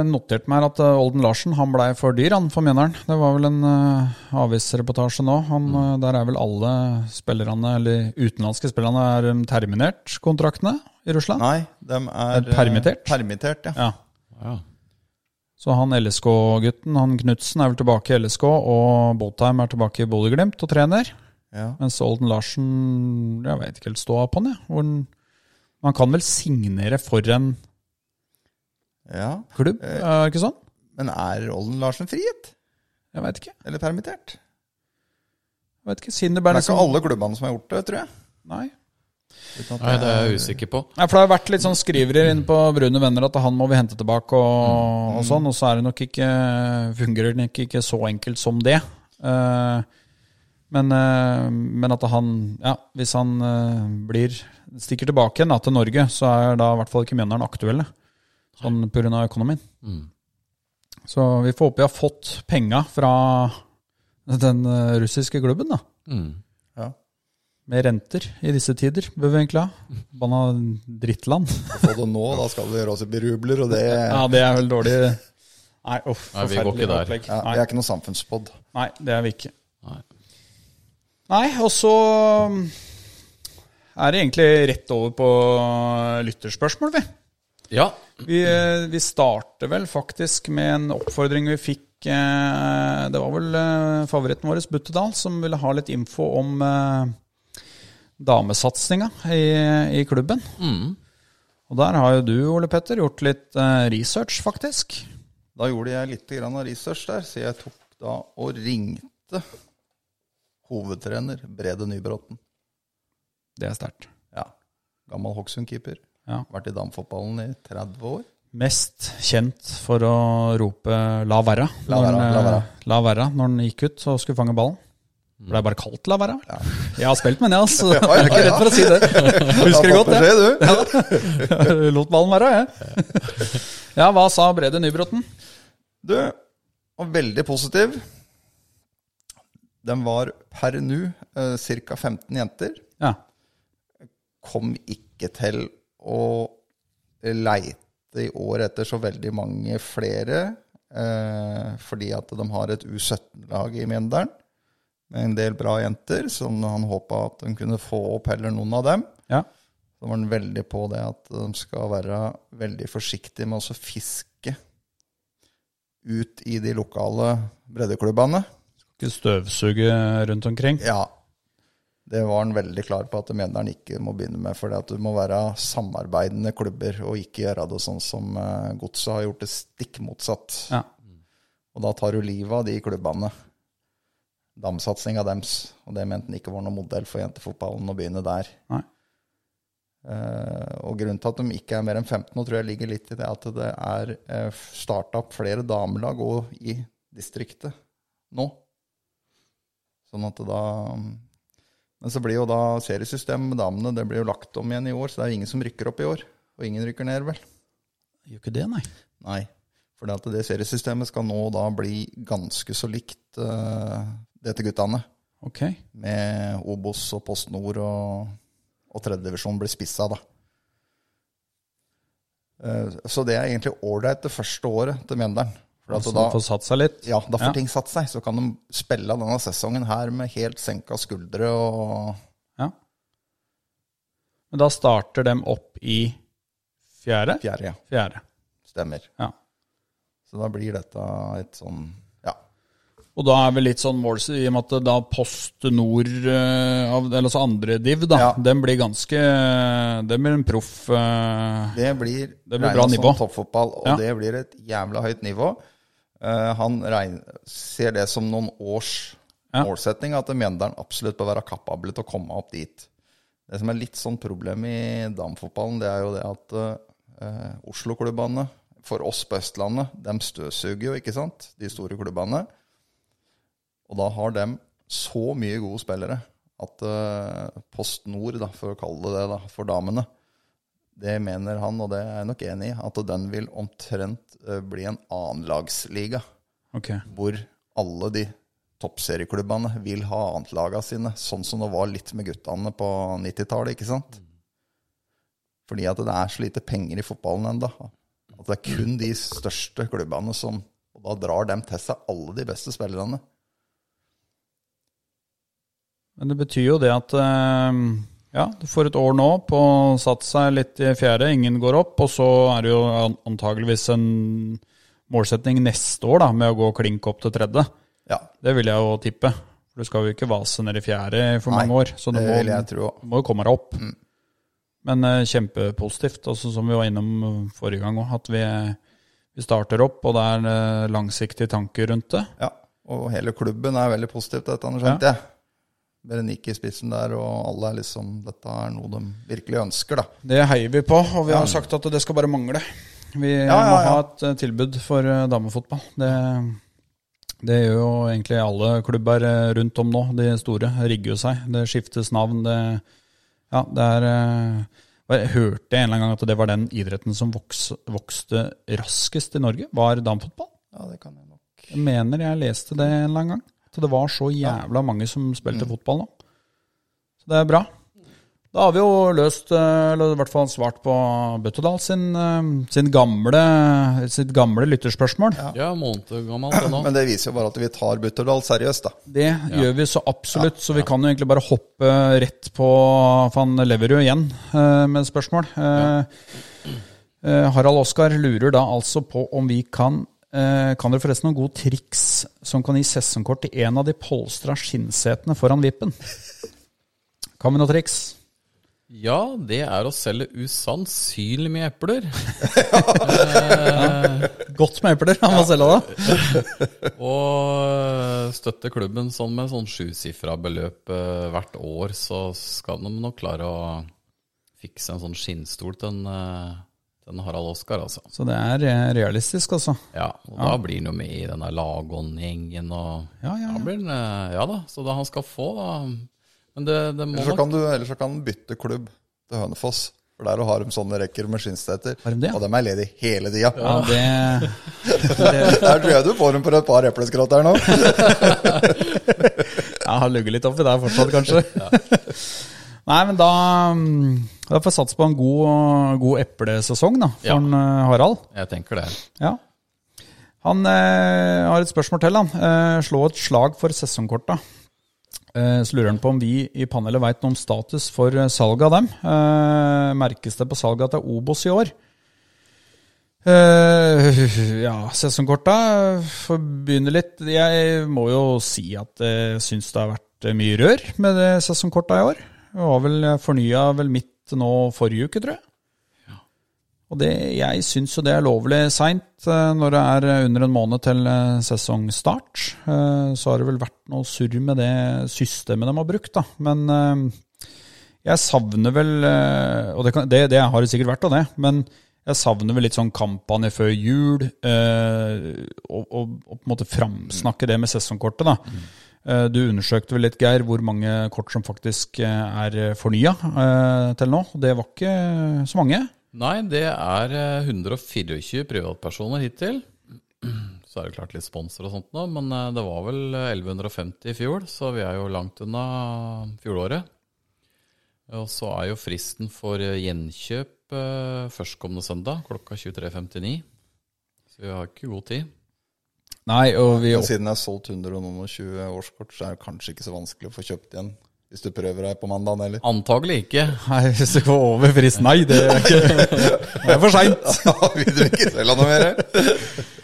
Speaker 1: notert meg at eh, Olden Larsen han blei for dyr han for Mjøndalen. Det var vel en eh, avisreportasje nå. Han, eh, der er vel alle spillerne, eller utenlandske spillerne er um, terminert kontraktene i Russland?
Speaker 3: Nei, de er
Speaker 1: Er permittert?
Speaker 3: eh, permittert ja.
Speaker 1: Ja.
Speaker 2: Ja.
Speaker 1: Så han LSK-gutten, han Knutsen, er vel tilbake i LSK, og Botheim er tilbake i Bodø-Glimt og trener.
Speaker 3: Ja.
Speaker 1: Mens Olden Larsen Jeg veit ikke helt ståa på han, jeg. Hvor han, han kan vel signere for en
Speaker 3: ja.
Speaker 1: klubb,
Speaker 3: Eh,
Speaker 1: er det ikke sånn?
Speaker 3: Men er Olden Larsen frigitt?
Speaker 1: Jeg veit ikke.
Speaker 3: Eller permittert?
Speaker 1: Jeg vet ikke.
Speaker 3: Det
Speaker 1: Sinneberg
Speaker 3: er ikke alle klubbene som har gjort det, tror jeg.
Speaker 1: liksom- Nei.
Speaker 3: Uten at
Speaker 2: Nei, det er jeg usikker på.
Speaker 1: Nei, for Det har vært litt sånn skriverier inne på Brune venner at han må vi hente tilbake, og, og sånn, og så er det nok ikke, fungerer det nok ikke så enkelt som det. Eh, men, eh, men at han, ja, hvis han eh, blir, stikker tilbake igjen da, til Norge, så er da i hvert fall ikke Mjøndalen aktuelle, sånn pga. økonomien.
Speaker 2: Mm.
Speaker 1: Så vi får håpe vi har fått penga fra den eh, russiske klubben, da.
Speaker 2: Mm.
Speaker 3: Ja.
Speaker 1: Med renter i disse tider, bør vi egentlig ha. Banna drittland.
Speaker 3: Få det nå, da skal det gjøres opp i rubler, og det
Speaker 1: Ja, det er vel dårlig Nei, uff,
Speaker 2: Nei, vi går
Speaker 1: forferdelig
Speaker 2: ikke der.
Speaker 1: opplegg.
Speaker 3: ja, Vi
Speaker 1: Nei,
Speaker 3: er ikke noe samfunnspod.
Speaker 1: nei, det er vi ikke.
Speaker 2: Nei.
Speaker 1: Nei, og så um, er det egentlig rett over på uh, lytterspørsmål, vi.
Speaker 2: Ja.
Speaker 1: Vi, eh, vi starter vel faktisk med en oppfordring vi fikk eh, Det var vel eh, favoritten vår, Buttedal, som ville ha litt info om eh, damesatsinga i, i klubben.
Speaker 2: Mm.
Speaker 1: Og der har jo du, Ole Petter, gjort litt eh, research, faktisk.
Speaker 3: Da gjorde jeg litt grann av research der, så jeg tok da og ringte hovedtrener Brede Nybråten.
Speaker 1: Det er sterkt.
Speaker 3: Ja. Gammel Hokksund-keeper.
Speaker 1: Ja.
Speaker 3: Vært i damfotballen i 30 år.
Speaker 1: mest kjent for å rope 'la være'
Speaker 3: La være,
Speaker 1: når, han,
Speaker 3: la være.
Speaker 1: eh, la være, når han gikk ut og skulle fange ballen. Det ble bare kalt 'la være'. Jeg har spilt med den, altså. Jeg er ikke redd for å si det. Husker det godt, jeg.
Speaker 3: jeg. Ja.
Speaker 1: Lot ballen være, jeg. Ja, hva sa Brede Nybråten?
Speaker 3: Du, og veldig positiv. Den var per nå eh, ca. 15 jenter.
Speaker 1: Ja.
Speaker 3: Kom ikke til å leite i år etter så veldig mange flere, eh, fordi at de har et U17-lag i Mjøndalen med en del bra jenter, som han håpa at de kunne få opp heller noen av dem.
Speaker 1: ja.
Speaker 3: Da var han veldig på det at de skal være veldig forsiktige med å så fiske ut i de lokale breddeklubbene.
Speaker 1: Ikke støvsuge rundt omkring.
Speaker 3: Ja, det var han veldig klar på at Mjøndalen ikke må begynne med. For det må være samarbeidende klubber, og ikke gjøre det sånn som eh, Godset har gjort det stikk motsatt.
Speaker 1: Ja.
Speaker 3: Og da tar du livet av de klubbene. Damsatsinga deres. Og det mente han ikke var noen modell for jentefotballen å begynne der.
Speaker 1: Nei.
Speaker 3: Eh, og grunnen til at de ikke er mer enn 15 nå, tror jeg ligger litt i det at det er eh, starta opp flere damelag òg i distriktet nå. Sånn at det da Men så blir jo da seriesystemet med damene det blir jo lagt om igjen i år, så det er ingen som rykker opp i år. Og ingen rykker ned, vel?
Speaker 1: Gjør ikke det, nei.
Speaker 3: Nei. For det, at det seriesystemet skal nå da bli ganske så likt eh, det til guttene.
Speaker 1: Ok.
Speaker 3: Med Obos og Post Nord og, og tredjedivisjon blir spissa, da. Eh, Så det er egentlig ålreit det første året til Mjøndalen. For at
Speaker 1: Så
Speaker 3: Altså da,
Speaker 1: han får satt seg litt.
Speaker 3: ja, da får
Speaker 1: Altså, Ja.
Speaker 3: ting satt seg. Så kan de spille av denne sesongen her med helt senka skuldre og
Speaker 1: Ja. Men da starter dem opp i fjerde?
Speaker 3: fjerde. Ja.
Speaker 1: Fjerde.
Speaker 3: Stemmer.
Speaker 1: Ja.
Speaker 3: Så da blir dette et sånn Ja.
Speaker 1: Og da er vel litt sånn måls i og med at da Post Nord, eh, av- eller altså andre div, da,
Speaker 3: Ja.
Speaker 1: den blir ganske Den blir en proff eh,
Speaker 3: Det blir,
Speaker 1: blir
Speaker 3: regnet
Speaker 1: bra nivå.
Speaker 3: som toppfotball, og
Speaker 1: Ja.
Speaker 3: det blir et jævla høyt nivå. Eh, han regn- ser det som noen års
Speaker 1: Ja.
Speaker 3: målsetting at Mjøndalen absolutt bør være kapable til å komme opp dit. Det som er litt sånn problem i damefotballen, det er jo det at eh, Oslo-klubbene, for oss på Østlandet, de støvsuger jo, ikke sant? De store klubbene. Og da har de så mye gode spillere at eh, Post Nord, da, for å kalle det det, da, for damene, det mener han, og det er jeg nok enig i, at den vil omtrent eh, bli en annenlagsliga.
Speaker 1: Ok.
Speaker 3: Hvor alle de toppserieklubbene vil ha annetlaga sine, sånn som det var litt med guttene på 90-tallet, ikke sant? Fordi at det er så lite penger i fotballen ennå. At det er kun de største klubbene som Og da drar dem til seg alle de beste spillerne.
Speaker 1: Men det betyr jo det at eh, ja, du får et år nå på å satt seg litt i fjerde, ingen går opp, og så er det jo an- antageligvis en målsetning neste år da, med å gå klink opp til tredje.
Speaker 3: Ja,
Speaker 1: Det vil jeg jo tippe. For du skal jo ikke vase ned i fjerde for
Speaker 3: Nei,
Speaker 1: mange år. Så du
Speaker 3: det
Speaker 1: må,
Speaker 3: vil jeg tro òg.
Speaker 1: du må jo komme deg opp.
Speaker 3: Mm.
Speaker 1: Men eh, kjempepositivt, altså, som vi var innom forrige gang òg, at vi, vi starter opp, og det er eh, langsiktige tanker rundt det.
Speaker 3: Ja. Og hele klubben er veldig positiv til dette, skjønte jeg. Berenike i spissen der, og alle er liksom Dette er noe de virkelig ønsker, da.
Speaker 1: Det heier vi på, og vi har sagt at det skal bare mangle. Vi
Speaker 3: ja,
Speaker 1: må
Speaker 3: ja.
Speaker 1: ha et eh, tilbud for eh, damefotball. Det, det gjør jo egentlig alle klubber eh, rundt om nå. De store rigger jo seg. Det skiftes navn. Det, ja, det er eh, Jeg hørte en eller annen gang at det var den idretten som voks, vokste raskest i Norge, var damefotball.
Speaker 3: Ja, det kan jeg nok.
Speaker 1: Jeg mener jeg leste det en eller annen gang. At det var så jævla mange som spilte fotball nå. Så det er bra. Da har vi jo løst, eh, eller i hvert fall svart på Bøttedal sin, eh, sin gamle, sitt gamle lytterspørsmål.
Speaker 2: Ja, måned gammelt det nå.
Speaker 3: Men det viser jo bare at vi tar Butterdal seriøst, da.
Speaker 1: Det gjør vi så absolutt, så vi kan jo egentlig bare hoppe rett på Van Leverud igjen eh, med spørsmål. Eh, eh, Harald Oskar lurer da altså på om vi kan eh, Kan dere forresten noen gode triks som kan gi sesongkort til en av de polstra skinnsetene foran vippen? Kan vi noen triks?
Speaker 2: Ja, det er å selge usannsynlig mye epler. eh,
Speaker 1: Godt med epler, han må selge det.
Speaker 2: og støtte klubben sånn med sånn sjusifra beløp eh, hvert år, så skal de nok klare å fikse en sånn skinnstol til en, eh, til en Harald Oskar, altså.
Speaker 1: Så det er eh, realistisk, altså.
Speaker 2: Ja, og da blir han jo med i denne Lagånd-gjengen og
Speaker 1: Ja, ja,
Speaker 2: Da
Speaker 1: ja.
Speaker 2: blir han, eh, Ja da, så da han skal få, da. Men det, det må
Speaker 3: Eller så
Speaker 2: nok
Speaker 3: kan du eller så kan du bytte klubb til Hønefoss. For der har de sånne rekker med skinnsteter.
Speaker 1: Har de det?
Speaker 3: Og de er ledige hele tida.
Speaker 1: ja det,
Speaker 3: Der tror jeg du får dem for et par epleskratt her nå.
Speaker 1: Jeg har ligget litt oppi der fortsatt, kanskje. Nei, men da, mm, da får jeg satse på en god, god eplesesong da, for
Speaker 2: Ja.
Speaker 1: en, eh, Harald.
Speaker 2: Jeg tenker det.
Speaker 1: Ja. Han eh, har et spørsmål til. Han. Eh, slå et slag for sesongkorta. Eh, så lurer han på om vi i panelet veit noe om status for eh, salget av dem. Eh, merkes det på salget at det er Obos i år? Eh, ja, sesongkorta eh, får begynne litt. Jeg må jo si at jeg syns det har vært eh, mye rør med det sesongkorta i år. Jeg var vel fornya vel mitt nå forrige uke, tror jeg. Og det, jeg syns jo det er lovlig seint eh, når det er eh, under en måned til eh, sesongstart. Eh, Så har det vel vært noe surr med det systemet de har brukt, da. Men eh, jeg savner vel eh, Og det, kan, det, det har det sikkert vært, og det. Men jeg savner vel litt sånn kampanje før jul, eh, og, og, og på en måte framsnakke det med sesongkortet, da. Eh, Du undersøkte vel litt, Geir, hvor mange kort som faktisk eh, er fornya eh, til nå. Det var ikke så mange.
Speaker 2: Nei, det er eh, 124 privatpersoner hittil. Så er det klart litt sponsor og sånt nå, men eh, det var vel eh, 1150 i fjor, så vi er jo langt unna fjoråret. Og så er jo fristen for eh, gjenkjøp eh, førstkommende søndag klokka 23.59. Så vi har ikke god tid.
Speaker 1: Nei, og vi
Speaker 3: Men Siden jeg har solgt 120 årskort, så er det kanskje ikke så vanskelig å få kjøpt igjen. Hvis du prøver deg på mandagen, eller?
Speaker 2: Antagelig ikke.
Speaker 1: Nei, hvis det går over fristen Nei, det er, ikke, det er for seint.
Speaker 3: Vil du ikke selge noe mer?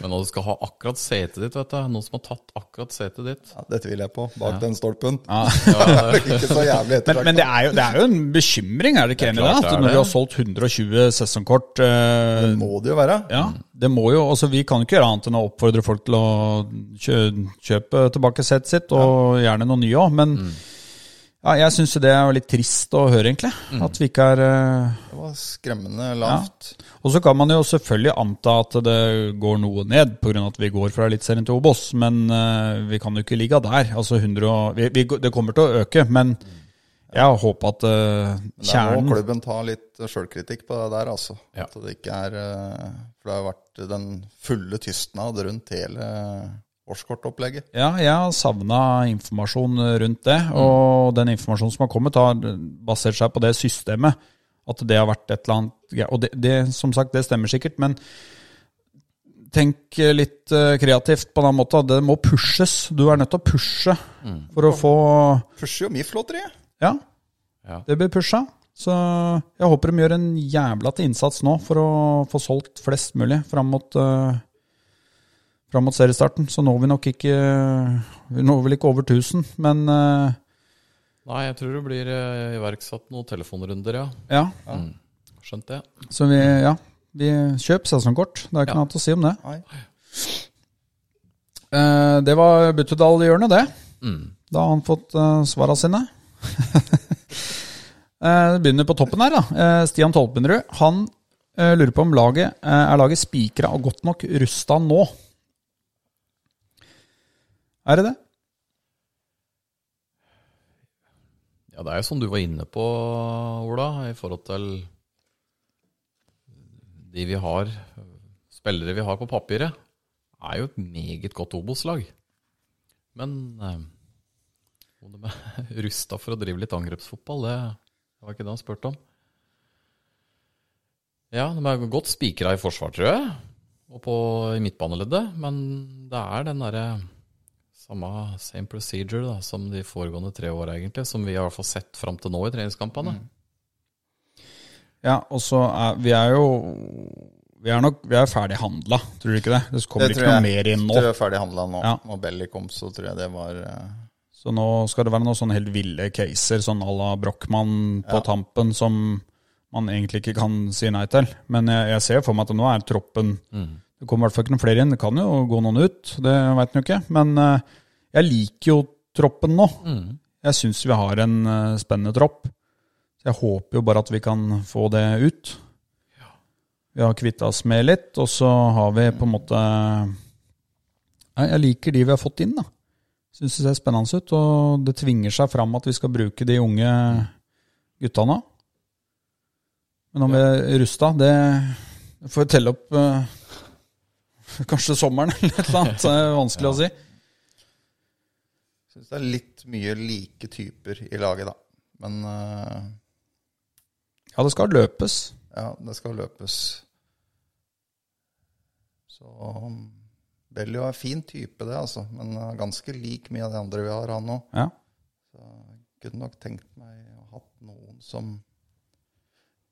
Speaker 2: Men når du skal ha akkurat setet ditt, vet du. Noen som har tatt akkurat setet ditt.
Speaker 3: Ja, det tviler jeg på. Bak den stolpen.
Speaker 2: Ja,
Speaker 3: Det er ikke så jævlig
Speaker 1: Men, men
Speaker 3: ettertraktet.
Speaker 1: det, er jo, det er jo en bekymring, er det ikke enig i det?
Speaker 2: klart det
Speaker 1: At
Speaker 2: er
Speaker 1: når
Speaker 2: det.
Speaker 1: vi har solgt 120 sesongkort eh,
Speaker 3: Må det jo være.
Speaker 1: Ja, det må jo Altså, vi kan ikke gjøre annet enn å oppfordre folk til å kjø, kjøpe tilbake settet sitt, og gjerne noe nye òg, men ja, jeg syns jo det er litt trist å høre, egentlig. At vi ikke er eh,
Speaker 3: Det var skremmende lavt.
Speaker 1: Og så kan man jo selvfølgelig anta at det går noe ned pga. at vi går fra Eliteserien til Obos, men eh, vi kan jo ikke ligge der. Altså 100 og, vi, vi, det kommer til å øke, men jeg håper at eh,
Speaker 3: Men Der må
Speaker 1: kjernen
Speaker 3: klubben ta litt eh, sjølkritikk på det der, altså.
Speaker 2: Ja.
Speaker 3: At det ikke er eh, For det har vært den fulle tystnad rundt hele årskortopplegget.
Speaker 1: ja, jeg har savna informasjon rundt det. Og den informasjonen som har kommet, har basert seg på det systemet. At det har vært et eller annet grei- Og det, det, som sagt, det stemmer sikkert, men tenk litt eh, kreativt på den måten. Det må pushes. Du er nødt til å pushe for å få
Speaker 3: Pusher jo MIF-lotteriet.
Speaker 1: Ja,
Speaker 2: Ja.
Speaker 1: det blir pusha. Så jeg håper de gjør en jævla til innsats nå for å få solgt flest mulig fram mot eh, fram mot seriestarten. Så når vi nok ikke eh, Vi når vel ikke over 1000, men eh,
Speaker 2: Nei, jeg tror det blir eh, iverksatt noen telefonrunder, ja.
Speaker 1: ja.
Speaker 3: Ja.
Speaker 2: Mm. Skjønt det.
Speaker 1: Så vi, ja, vi kjøper sesongkort. Det er ikke
Speaker 2: Ja.
Speaker 1: noe annet å si om det.
Speaker 3: Nei.
Speaker 1: Eh, det var Buttedal-hjørnet, det.
Speaker 2: Mm.
Speaker 1: Da har han fått uh, svara sine. Eh, det begynner på toppen her, da. Eh, Stian Tolpenrud. Han eh, lurer på om laget eh, er laget spikra og godt nok rusta nå. Er det det?
Speaker 2: Ja, det er jo som du var inne på, Ola, i forhold til de vi har, spillere vi har på papiret, er jo et meget godt Obos-lag. Men eh, om de er rusta for å drive litt angrepsfotball, det var ikke det han spurte om. Ja, de er godt spikra i forsvar, tror jeg, og på, i midtbaneleddet, men det er den derre samme same procedure da, som de foregående tre åra, egentlig. Som vi har i hvert fall sett fram til nå i treningskampene.
Speaker 1: Ja, og så er vi er jo Vi er nok vi er ferdig handla, tror du ikke det? Det kommer
Speaker 3: Det
Speaker 1: ikke
Speaker 3: tror
Speaker 1: noe
Speaker 3: jeg.
Speaker 1: mer inn nå.
Speaker 3: Tror jeg er ferdig handla nå.
Speaker 1: Ja.
Speaker 3: Når Belly kom, så tror jeg det var eh,
Speaker 1: Så nå skal det være noen sånne helt ville caser, sånn à la Brochmann på tampen, som man egentlig ikke kan si nei til. Men jeg, jeg ser for meg at nå er troppen Det kommer i hvert fall ikke noen flere inn. Det kan jo gå noen ut, det veit en jo ikke. Men eh, jeg liker jo troppen nå.
Speaker 2: Mm.
Speaker 1: Jeg syns vi har en eh, spennende tropp. Så jeg håper jo bare at vi kan få det ut. Vi har kvitta oss med litt, og så har vi på en måte Nei, Jeg liker de vi har fått inn, da. Syns det ser spennende ut. Og det tvinger seg fram at vi skal bruke de unge gutta nå. Men om vi er rusta, det får vi telle opp eh, Kanskje sommeren eller et eller annet. Det er vanskelig å si.
Speaker 3: Syns det er litt mye like typer i laget, da. Men eh,
Speaker 1: Ja, det skal løpes.
Speaker 3: ja, det skal løpes. Så um, Belly er en fin type, det, altså. Men eh, ganske lik mye av de andre vi har, han òg.
Speaker 1: Ja.
Speaker 3: Så jeg kunne nok tenkt meg å ha hatt noen som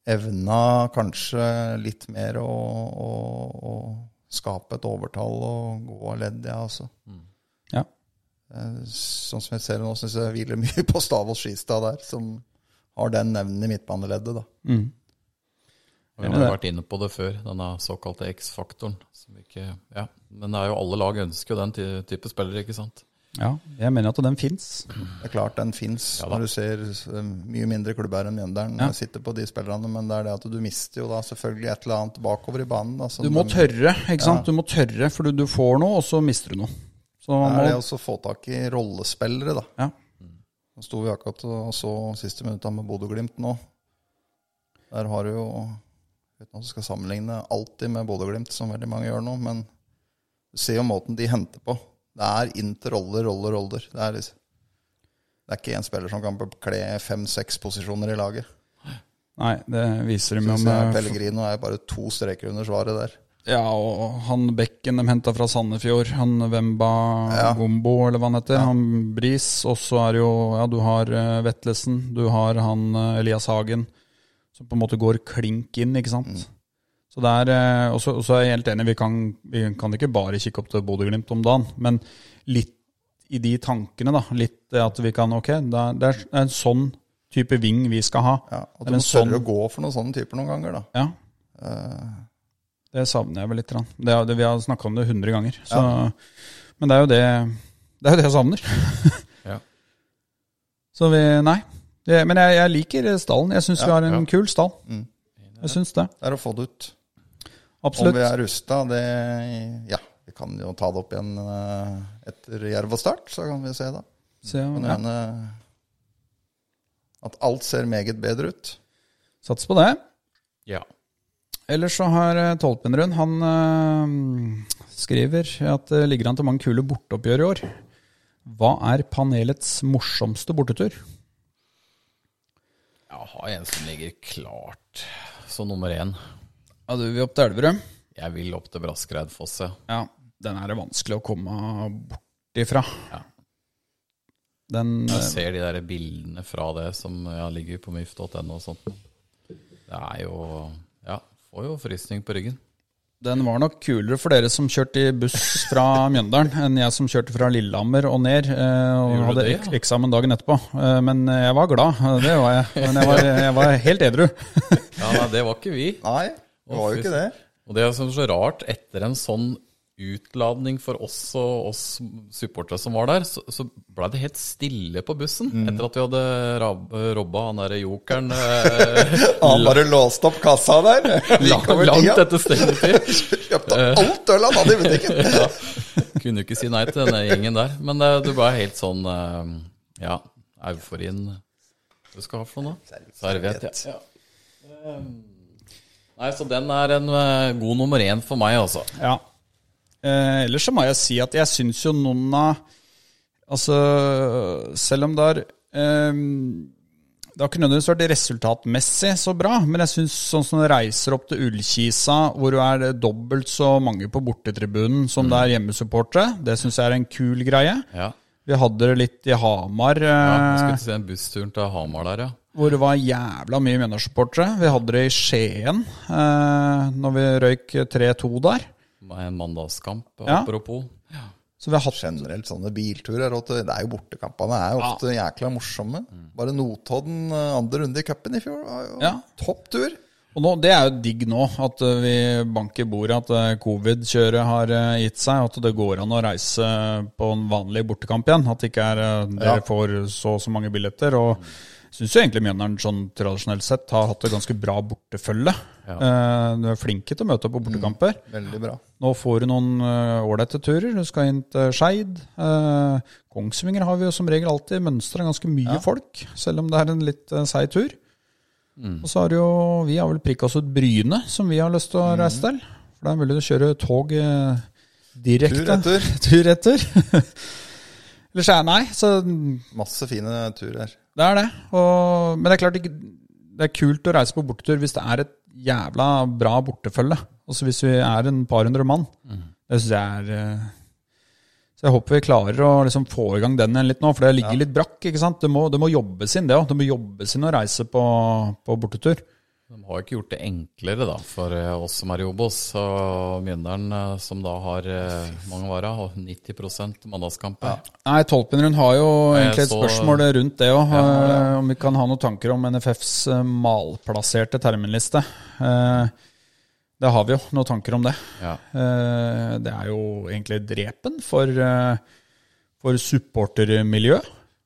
Speaker 3: evna kanskje litt mer å, å, å skape et overtall og gå av ledd, ja, altså.
Speaker 1: Ja.
Speaker 3: Eh, Sånn som jeg ser det nå, syns jeg hviler mye på Stavås Skistad der, som har den nevnen i midtbaneleddet, da.
Speaker 1: Mm.
Speaker 2: Og Vi har jo vært inne på det før, denne såkalte X-faktoren. som ikke- Ja. Men det er jo alle lag ønsker jo den ty- type spillere, ikke sant.
Speaker 1: Ja, jeg mener at den fins.
Speaker 3: Det er klart den fins,
Speaker 2: Ja da.
Speaker 3: når du ser eh, mye mindre klubber enn Mjøndalen eh,
Speaker 1: Ja.
Speaker 3: sitter på de spillerne, men det er det at du mister jo da selvfølgelig et eller annet bakover i banen. Da, som
Speaker 1: Du må
Speaker 3: de-
Speaker 1: tørre, ikke sant? Du må tørre, for du, du får noe, og så mister du noe. Så man
Speaker 3: Det er det
Speaker 1: må,
Speaker 3: også å få tak i rollespillere, da.
Speaker 1: Ja.
Speaker 3: Nå sto vi akkurat og så siste minutta med Bodø-Glimt nå. Der har du jo Uten at du skal sammenligne alltid med Bodø-Glimt, som veldig mange gjør nå, men du ser jo måten de henter på. Det er inn til roller, roller, roller. Det er, liksom, det er ikke én spiller som kan bekle fem-seks posisjoner i laget.
Speaker 1: nei, det viser de jo
Speaker 3: Synes jeg
Speaker 1: med eh,
Speaker 3: Pellegrino er bare to streker under svaret der.
Speaker 1: Ja, og han bekken de henta fra Sandefjord, han Wemba
Speaker 3: Ja.
Speaker 1: Gombo, eller hva han heter, han Bris, og så er det jo Ja, du har eh, Vetlesen, du har han eh, Elias Hagen, som på en måte går klink inn, ikke sant? Så det er, eh, og så og så er jeg helt enig, vi kan, vi kan ikke bare kikke opp til Bodø-Glimt om dagen, men litt i de tankene, da. Litt det at vi kan Ok, det er, det er en sånn type ving vi skal ha.
Speaker 3: Ja, at
Speaker 1: Men en
Speaker 3: du må
Speaker 1: sånn-
Speaker 3: tørre å gå for noen sånne typer noen ganger, da.
Speaker 1: Ja,
Speaker 3: Eh,
Speaker 1: det savner jeg vel litt. grann. Det, er- det, vi har snakka om det 100 ganger. Så, Men det er jo det Det er jo det jeg savner.
Speaker 2: Ja.
Speaker 1: Så vi Nei. Det, men jeg, jeg liker stallen. Jeg syns vi har en
Speaker 2: ja.
Speaker 1: kul stall.
Speaker 3: Mm.
Speaker 1: Jeg syns det.
Speaker 3: det er å få det ut. Om
Speaker 1: Absolutt.
Speaker 3: vi er rusta, det Ja, vi kan jo ta det opp igjen eh, etter Jerv og Start, så kan vi se, da.
Speaker 1: Så,
Speaker 3: Kan
Speaker 1: ja.
Speaker 3: hende at alt ser meget bedre ut.
Speaker 1: Sats på det.
Speaker 2: Ja.
Speaker 1: Ellers så har eh, Tolpenrund Han eh, skriver at det ligger an til mange kule borteoppgjør i år. Hva er panelets morsomste bortetur?
Speaker 2: Jeg har en som ligger klart som nummer én.
Speaker 1: Ja, du vil opp til Elverum?
Speaker 2: Jeg vil opp til Braskereidfosset.
Speaker 1: Ja, den er det vanskelig å komme bort ifra.
Speaker 2: Ja.
Speaker 1: Den
Speaker 2: Jeg
Speaker 1: eh,
Speaker 2: ser de der bildene fra det som ja, ligger på myf.no og sånt. Det er jo Ja, får jo frysning på ryggen.
Speaker 1: Den var nok kulere for dere som kjørte i buss fra Mjøndalen, enn jeg som kjørte fra Lillehammer og ned. eh, Og
Speaker 2: Gjorde
Speaker 1: hadde
Speaker 2: det,
Speaker 1: ek
Speaker 2: ja?
Speaker 1: eksamen dagen etterpå. Eh, Men jeg var glad, eh, det var jeg. Men jeg var, jeg var helt edru.
Speaker 2: Ja, nei, det var ikke vi.
Speaker 3: Nei, det var jo ikke det.
Speaker 2: Og det som er så rart, etter en sånn utladning for oss og oss supportere som var der, så, så ble det helt stille på bussen. Etter at vi hadde rab robba han derre jokeren eh,
Speaker 3: Han bare låste opp kassa der. Gikk
Speaker 2: langt,
Speaker 3: over
Speaker 2: langt
Speaker 3: tida.
Speaker 2: etter stengetid.
Speaker 3: Kjøpte alt øl han hadde i butikken.
Speaker 2: Ja. Kunne jo ikke si nei til denne gjengen der. Men eh, det ble helt sånn eh, Ja, euforien du skal ha for noe, da? Serviett. Ja. Ja. Um, Nei, så den er en eh, god nummer én for meg, altså.
Speaker 1: Ja. Eh, ellers så må jeg si at jeg syns jo noen av Altså, selv om det har eh, Det har ikke nødvendigvis vært resultatmessig så bra, men jeg syns sånn som du reiser opp til Ullkisa, hvor du er dobbelt så mange på bortetribunen som
Speaker 2: Mm.
Speaker 1: det er hjemmesupportere, det syns jeg er en kul greie.
Speaker 2: Ja.
Speaker 1: Vi hadde det litt i Hamar.
Speaker 2: Ja, jeg
Speaker 1: Eh,
Speaker 2: skulle til å si den bussturen til Hamar der, ja.
Speaker 1: hvor det var jævla mye Mjøndalssupportere. Vi hadde det i Skien eh, når vi røyk 3-2 der.
Speaker 2: Med En mandagskamp,
Speaker 1: Ja.
Speaker 2: apropos.
Speaker 1: Så vi har hatt
Speaker 3: Generelt sånne bilturer. og Det er jo bortekampene er jo ofte jækla morsomme. Bare Notodden eh, andre runde i cupen i fjor var jo
Speaker 1: Mm. Ja.
Speaker 3: topp tur.
Speaker 1: Og nå, Det er jo digg nå, at eh, vi banker bordet, at eh, covid-kjøret har eh, gitt seg. At det går an å reise på en vanlig bortekamp igjen. At det ikke er eh, dere
Speaker 3: Ja.
Speaker 1: får så og så mange billetter. Og syns jo egentlig Mjøndalen sånn tradisjonelt sett har hatt et ganske bra bortefølge. Eh, Du er flinke til å møte opp på bortekamper.
Speaker 3: Veldig bra.
Speaker 1: Nå får du noen eh, ålreite turer. Du skal inn til Skeid. eh, Kongsvinger har vi jo som regel alltid mønstra ganske mye folk, selv om det er en litt uh, seig tur.
Speaker 3: Mm.
Speaker 1: Og så har jo vi har vel prikka oss ut Bryne, som vi har lyst til
Speaker 3: Mm.
Speaker 1: å reise til. For det er mulig å kjøre tog eh, direkte.
Speaker 3: Tur etter.
Speaker 1: Tur etter. Eller så er nei. Så det
Speaker 3: Masse fine turer.
Speaker 1: er det. Og, men det er klart ikke, det er kult å reise på bortetur hvis det er et jævla bra bortefølge. Altså hvis vi er en par hundre mann.
Speaker 2: Mm.
Speaker 1: Det syns jeg er eh, Så jeg håper vi klarer å liksom få i gang den igjen litt nå, for det ligger litt brakk. ikke sant? Det må, det må jobbes inn, det òg. Det må jobbes inn å reise på, på bortetur.
Speaker 2: De har jo ikke gjort det enklere da, for eh, oss som er i Obos. Og Mjøndalen, eh, som da har eh, mange varer, og 90 mandagskamper.
Speaker 1: Nei, Tolpenrund har jo
Speaker 2: jeg
Speaker 1: egentlig et
Speaker 2: så-
Speaker 1: spørsmål rundt det òg. om vi kan ha noen tanker om NFFs eh, malplasserte terminliste. Eh, det har vi jo noen tanker om det.
Speaker 2: Ja.
Speaker 1: Eh, det er jo egentlig drepen for, eh, for supportermiljø.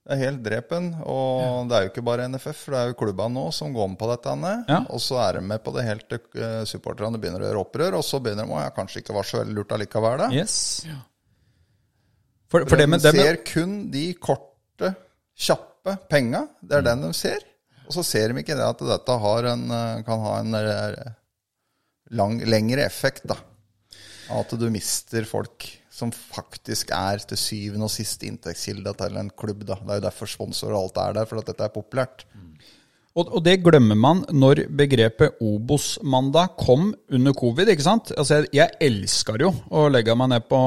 Speaker 3: Det er helt drepen, og det er jo ikke bare NFF, for det er jo klubbene nå som går med på dette. Anne.
Speaker 1: Ja.
Speaker 3: Og så er de med på det helt til eh, supporterne begynner å gjøre opprør, og så begynner de å ja, kanskje ikke var så veldig lurt allikevel. Da.
Speaker 1: Yes. For, for det med,
Speaker 3: de
Speaker 1: det med,
Speaker 3: ser kun de korte, kjappe penga. Det er den de ser. Og så ser de ikke det at dette har en, eh, kan ha en eh, lang, lengre effekt, da. At du mister folk som faktisk er til syvende og siste inntektskilde til en klubb. da. Det er jo derfor sponsorer og alt er der, for at dette er populært.
Speaker 1: og, og det glemmer man når begrepet Obos-mandag kom under covid. ikke sant? Altså, Jeg, jeg elsker jo å legge meg ned på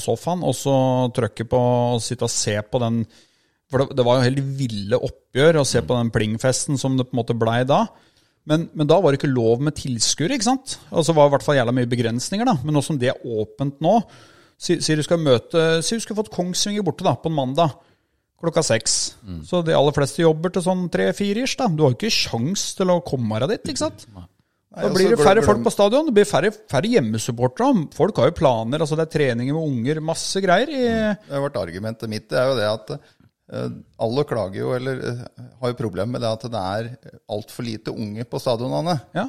Speaker 1: sofaen og så trykke på og sitte og se på den For det, det var jo helt ville oppgjør å se på den plingfesten som det på en måte blei da. Men, men da var det ikke lov med tilskuere, ikke sant? Og så var det i hvert fall jævla mye begrensninger, da. Men nå som det er åpent nå Si, si du skal møte Si du skulle fått Kongsvinger borte da, på en mandag klokka seks. Så de aller fleste jobber til sånn tre-fire-ish. da. Du har jo ikke sjans til å komme deg dit, ikke sant? Da
Speaker 3: Nei, og
Speaker 1: blir
Speaker 3: så
Speaker 1: det færre
Speaker 3: glem-
Speaker 1: folk på stadion, det blir færre, færre hjemmesupportere. Folk har jo planer, altså det er treninger med unger, masse greier. I,
Speaker 3: Det har vært argumentet mitt. Det er jo det at eh, alle klager jo, eller eh, har jo problemer med det at det er altfor lite unge på stadionene.
Speaker 1: ja.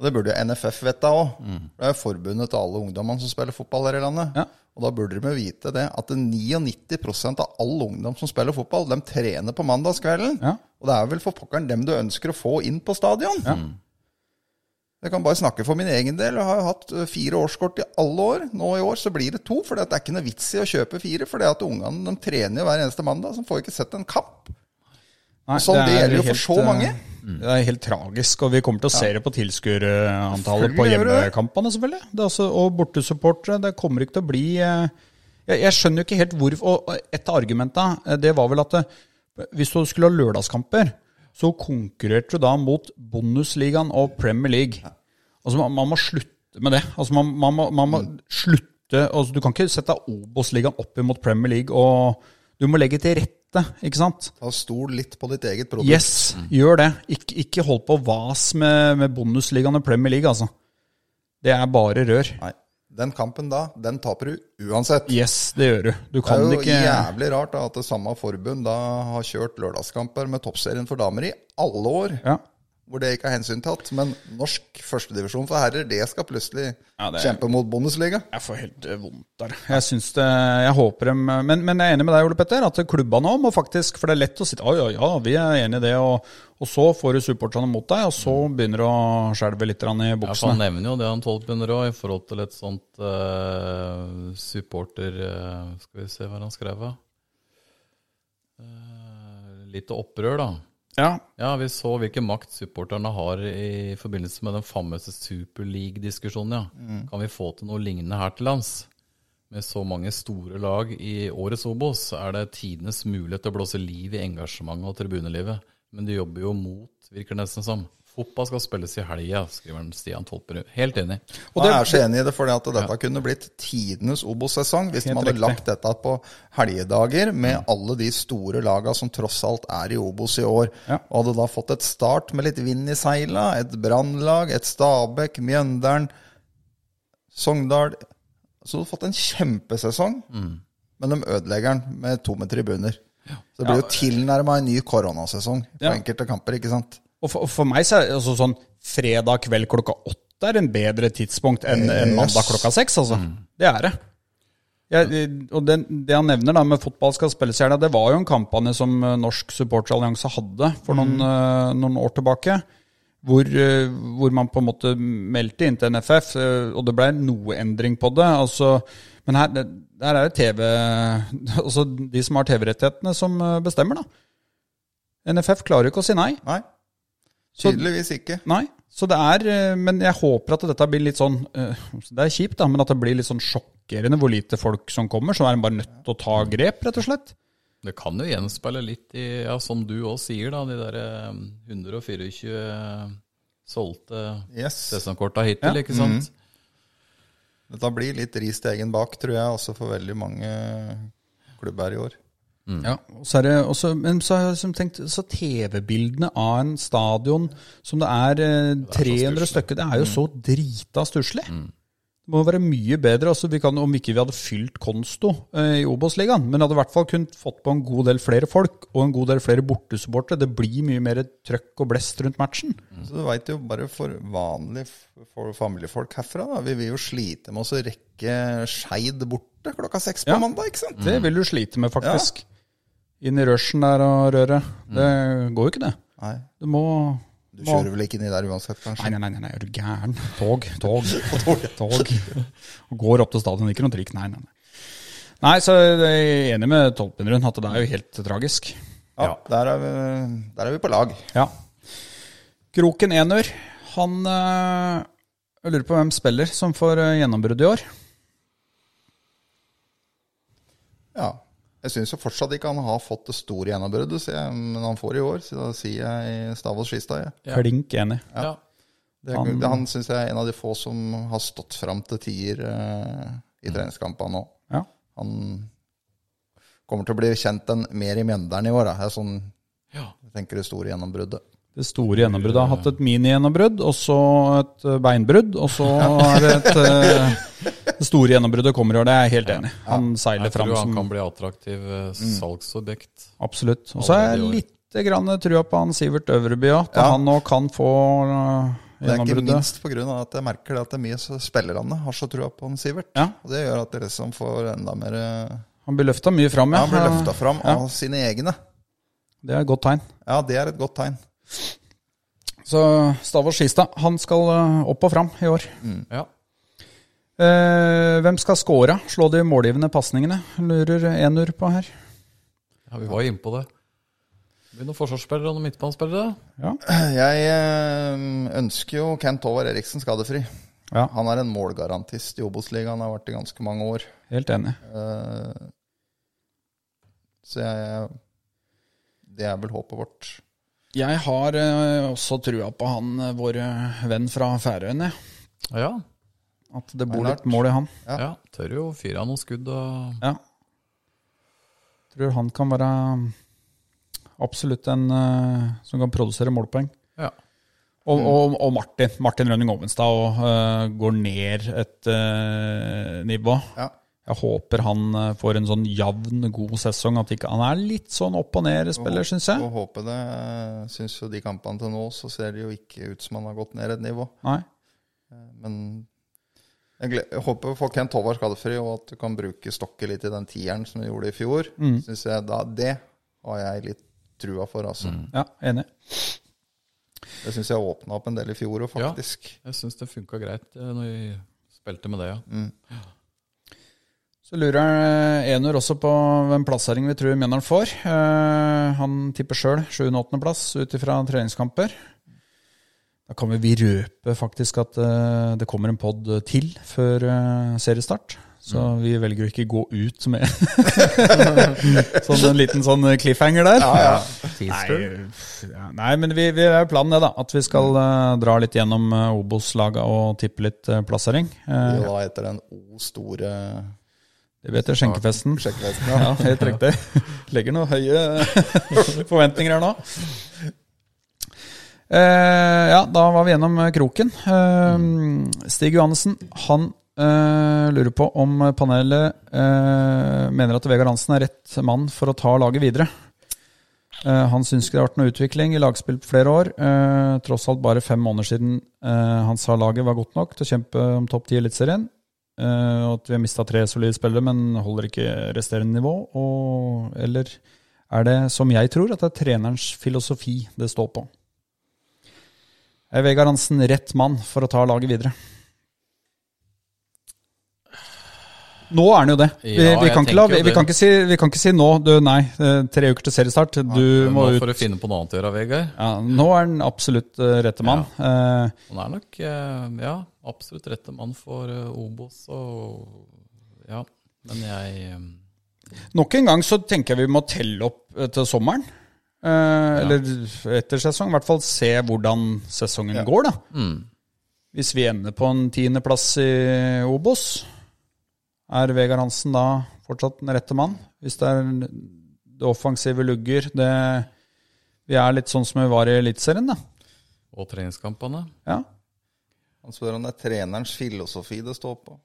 Speaker 3: Og det burde jo NFF vite òg. Det er jo forbundet til alle ungdommene som spiller fotball her i landet.
Speaker 1: Mm. Ja.
Speaker 3: Og da burde de jo vite det, at 99 av all ungdom som spiller fotball, de trener på mandagskvelden.
Speaker 1: Ja.
Speaker 3: Og det er vel for pokkeren dem du ønsker å få inn på stadion. Mm. Jeg kan bare snakke for min egen del. Jeg har jo hatt eh, fire årskort i alle år. Nå i år så blir det to, for det er ikke noe vits i å kjøpe fire. For ungene de trener jo hver eneste mandag, så de får jo ikke sett en kamp.
Speaker 1: Nei,
Speaker 3: Og sånn
Speaker 1: er
Speaker 3: deler jo for så
Speaker 1: eh,
Speaker 3: mange.
Speaker 1: Det er helt tragisk, og vi kommer til å se det på tilskuerantallet på
Speaker 3: Selvfølgelig gjør det det.
Speaker 1: hjemmekampene, selvfølgelig. Det er altså, og bortesupportere, det kommer ikke til å bli eh, Jeg, jeg skjønner jo ikke helt hvorfor Og og et av argumentene, eh, det var vel at eh, hvis du skulle ha lørdagskamper, så konkurrerte du da mot Bundesligaen og Premier League. Altså man, man må slutte slutte med det. Altså Man, man, må, man må
Speaker 3: Mm.
Speaker 1: slutte altså Du kan ikke sette Obos-ligaen opp imot Premier League, og du må legge til rette, ikke sant?
Speaker 3: Ta stol litt på ditt eget produkt.
Speaker 1: Yes, Mm. gjør det. Ikke, ikke hold på vas med, med Bundesligaen og Premier League, altså. Det er bare rør.
Speaker 3: Nei. Den kampen da, den taper du uansett.
Speaker 1: Yes, det gjør du. Du
Speaker 3: Det
Speaker 1: kan
Speaker 3: er jo
Speaker 1: ikke
Speaker 3: jævlig rart da, at det samme forbund da har kjørt lørdagskamper med toppserien for damer i alle år,
Speaker 1: ja.
Speaker 3: hvor det ikke er hensyntatt. Men norsk førstedivisjon for herrer, det skal plutselig
Speaker 1: Ja, det-
Speaker 3: kjempe mot Bundesliga.
Speaker 1: Jeg får helt eh, vondt der. Jeg syns det Jeg håper dem eh, Men, men jeg er enig med deg, Ole Petter, at klubba nå må faktisk For det er lett å si ja, ja, ja, vi er enig i det, og, og så får du supporterne mot deg, og så begynner du å skjelve litt grann i
Speaker 2: Ja, sånn. for Han
Speaker 1: buksene.
Speaker 2: nevner jo det han tolvbegynner òg, i forhold til et sånt eh, supporter eh, Skal vi se hva han skrev av. Eh, lite opprør, da.
Speaker 1: Ja,
Speaker 2: Ja, vi så hvilken makt supporterne har i forbindelse med den famøse Super League-diskusjonen, ja. Kan vi få til noe lignende her til lands? Med så mange store lag i årets Obos er det tidenes mulighet til å blåse liv i engasjementet og tribunelivet. Men de jobber jo mot, virker det nesten som. Fotball skal spilles i helga, skriver han Stian Tolperud. Helt enig.
Speaker 3: Og jeg er så enig i det, fordi at dette kunne blitt tidenes Obos-sesong hvis
Speaker 1: Helt
Speaker 3: man hadde
Speaker 1: riktig. Mm.
Speaker 3: lagt dette på helgedager med alle de store laga som tross alt er i Obos i år.
Speaker 1: Ja.
Speaker 3: Og hadde da fått et start med litt vind i seila, et brannlag, et Stabæk, Mjøndalen, Sogndal Så du hadde fått en kjempesesong,
Speaker 1: Mm.
Speaker 3: men de ødelegger den med tomme tribuner. Så det blir jo tilnærma en ny koronasesong på
Speaker 1: Ja.
Speaker 3: enkelte kamper, ikke sant?
Speaker 1: Og for, og for meg så er det altså sånn fredag kveld klokka åtte er en bedre tidspunkt enn enn mandag klokka seks, altså. Det er det. Jeg, og det, det han nevner da med fotball skal spilles i helga, det var jo en kampanje som eh, Norsk supporterallianse hadde for noen, eh, noen år tilbake. Hvor, eh, hvor man på en måte meldte inn til NFF, eh, og det ble noe endring på det. Altså, men her, det, her er det TV Altså de som har TV-rettighetene, som eh, bestemmer, da. NFF klarer jo ikke å si nei.
Speaker 3: Nei.
Speaker 1: Så-
Speaker 3: Tydeligvis ikke.
Speaker 1: Nei. Så det er eh, Men jeg håper at dette blir litt sånn eh, Det er kjipt, da, men at det blir litt sånn sjokkerende hvor lite folk som kommer. Så er en bare nødt til å ta grep, rett og slett.
Speaker 2: Det kan jo gjenspeile litt i, ja, som du òg sier, da, de der eh, 124 solgte
Speaker 3: Yes.
Speaker 2: sesongkorta hittil, ikke sant?
Speaker 3: Dette blir litt ris til egen bak, tror jeg, også for veldig mange klubber i år.
Speaker 1: Ja, og så er det også, Men så har jeg liksom tenkt Så TV-bildene av en stadion som det er Mm. eh, 300 stykker Det er jo så drita stusslig. Det må være mye bedre. Altså, vi kan, om ikke vi hadde fylt Konsto eh, i Obos-ligaen, men hadde i hvert fall kunnet fått på en god del flere folk og en god del flere bortesupportere. Det blir mye mer trøkk og blest rundt matchen.
Speaker 3: Så du veit jo bare for vanlige f- for familiefolk herfra, da. Vi vil jo slite med oss å rekke Skeid borte klokka seks på
Speaker 1: Ja. Mm.
Speaker 3: mandag, ikke sant?
Speaker 1: Det vil du slite med, faktisk. Inn i rushen der og røret. Det går jo ikke, det.
Speaker 3: Nei.
Speaker 1: Du må
Speaker 3: Mm. Du kjører vel ikke inni der uansett, kanskje?
Speaker 1: Nei, nei, nei, nei, er du gæren? Tog, tog, tog. Og Går opp til stadion, ikke noe drikk. Nei, nei, nei. Nei, så jeg er enig med Tolpenrund at det er jo helt tragisk.
Speaker 3: Ja, Der, er vi, der er vi på lag.
Speaker 1: Ja. Kroken Enur, han eh, Jeg lurer på hvem spiller som får eh, gjennombrudd i år.
Speaker 3: Ja. Jeg syns jo fortsatt ikke han har fått det store gjennombruddet, så jeg- men han får i år. Så da sier jeg Stavås Skistad, jeg.
Speaker 2: Ja.
Speaker 1: Klink enig.
Speaker 2: Ja.
Speaker 3: Det,
Speaker 1: Han-
Speaker 3: han det, han syns jeg er en av de få som har stått fram til tier eh, i treningskampene nå.
Speaker 1: Ja.
Speaker 3: Han kommer til å bli kjent en mer i Mjøndalen i år. Da. Det er sånn
Speaker 2: Ja.
Speaker 3: jeg tenker det store gjennombruddet.
Speaker 1: Det store gjennombruddet. Jeg har hatt et mini-gjennombrudd, og så et eh, beinbrudd, og så er det et eh, Det store gjennombruddet kommer i år, det er jeg helt enig i. Han seiler
Speaker 2: Jeg
Speaker 1: fram
Speaker 2: tror han
Speaker 1: som
Speaker 2: kan bli attraktiv eh,
Speaker 1: Mm.
Speaker 2: salgsobjekt.
Speaker 1: Absolutt. Og så er
Speaker 2: Allerede i
Speaker 1: jeg
Speaker 2: år.
Speaker 1: lite grann trua på han Sivert Øvreby òg, at
Speaker 3: Ja.
Speaker 1: han nå kan få eh,
Speaker 3: Det er ikke
Speaker 1: gjennombruddet.
Speaker 3: minst pga. at jeg merker det at det er mye så spillerne har så trua på han Sivert.
Speaker 1: Ja.
Speaker 3: Og det gjør at det liksom får enda mer eh,
Speaker 1: Han blir løfta mye fram,
Speaker 3: ja, Han blir løfta
Speaker 1: ja.
Speaker 3: fram av sine egne.
Speaker 1: Det er et godt tegn.
Speaker 3: Ja, det er et godt tegn.
Speaker 1: Så Stavås Skistad, han skal eh, opp og fram i år.
Speaker 2: Ja.
Speaker 1: Eh, hvem skal score? Slå de målgivende pasningene, lurer Enur på her.
Speaker 2: ja, vi var jo inne på det. Det blir noen forsvarsspillere og noen midtbanespillere.
Speaker 1: Ja.
Speaker 3: Jeg eh, ønsker jo Kent Håvard Eriksen skadefri.
Speaker 1: ja,
Speaker 3: Han er en målgarantist i Obos-ligaen, har vært i ganske mange år.
Speaker 1: helt enig.
Speaker 3: Eh, Så jeg Det er vel håpet vårt.
Speaker 1: Jeg har eh, også trua på han, eh, vår eh, venn fra Færøyene.
Speaker 2: Ja.
Speaker 1: At det bor
Speaker 3: Reinhardt.
Speaker 1: litt mål i han.
Speaker 3: Ja.
Speaker 2: Ja, tør jo å fyre av noen skudd og
Speaker 1: Ja. Tror han kan være mm, absolutt en eh, som kan produsere målpoeng.
Speaker 2: Ja.
Speaker 1: Og, og, og Martin Martin Rønning Ovenstad og, eh, går ned et eh, nivå.
Speaker 3: Ja.
Speaker 1: Jeg håper han eh, får en sånn jevn, god sesong. At ikke, han er litt sånn opp og ned-spiller, syns jeg.
Speaker 3: Og håper det. Syns jo de kampene til nå, så ser det jo ikke ut som han har gått ned et nivå. Eh,
Speaker 1: Nei.
Speaker 3: Men jeg, gle- jeg håper folk kan Håvard skadefri, og at du kan bruke Stokke litt i den tieren som du gjorde i fjor. Synes jeg da, Det har jeg litt trua for, altså.
Speaker 1: Ja, enig.
Speaker 3: Det syns jeg åpna opp en del i fjor òg,
Speaker 2: Ja.
Speaker 3: faktisk.
Speaker 2: Jeg syns det funka greit eh, når vi spilte med det, ja.
Speaker 3: Mm.
Speaker 1: Så lurer eh, Enur også på hvem plassering vi tror Mjøndalen får. Eh, han tipper sjøl 7.-8.-plass ut ifra treningskamper. Da kan vi røpe faktisk at eh, det kommer en pod til før eh, seriestart. Så vi velger å ikke gå ut med sånn en liten sånn cliffhanger der. Nei, ja, nei, men vi, vi er jo planen det, da. At vi skal eh, dra litt gjennom eh, Obos-laga og tippe litt eh, plassering. Eh,
Speaker 3: Og da etter den O store
Speaker 1: det vet du, skjenkefesten.
Speaker 3: sjekkvesten.
Speaker 1: Mm. Ja, helt riktig. Legger noen høye forventninger her nå. Eh, ja, da var vi gjennom eh, kroken. Eh, Stig Johannessen han eh, lurer på om panelet eh, mener at Vegard Hansen er rett mann for å ta laget videre. Eh, han syns ikke det har vært noe utvikling i lagspill på flere år. Eh, tross alt bare fem måneder siden eh, han sa laget var godt nok til å kjempe om topp ti i Eliteserien. Eh, og at vi har mista tre solide spillere, men holder ikke resterende nivå. Og, eller er det, som jeg tror, at det er trenerens filosofi det står på? Er Vegard Hansen rett mann for å ta laget videre? Nå er han jo det. Vi,
Speaker 2: Ja,
Speaker 1: vi,
Speaker 2: jeg
Speaker 1: kan, ikke la,
Speaker 2: tenker
Speaker 1: vi,
Speaker 2: jo
Speaker 1: vi,
Speaker 2: det.
Speaker 1: kan, ikke si, vi kan ikke si nå du, Nei, eh, tre uker til seriestart. Du må ut.
Speaker 2: Nå får du finne på noe annet å gjøre, Vegard.
Speaker 1: Ja, nå er han absolutt eh, rette mann. Eh,
Speaker 2: Han er nok eh, ja, absolutt rette mann for eh, Obos og Ja. Men jeg eh,
Speaker 1: Nok en gang så tenker jeg vi må telle opp eh, til sommeren. Eh, Eller etter sesong. I hvert fall se hvordan sesongen går, da.
Speaker 2: mm.
Speaker 1: Hvis vi ender på en tiendeplass i Obos, er Vegard Hansen da fortsatt den rette mann? Hvis det er det offensive lugger det, Vi er litt sånn som vi var i Eliteserien, da.
Speaker 2: Og treningskampene.
Speaker 1: Ja.
Speaker 3: Han spør om det er trenerens filosofi det står på.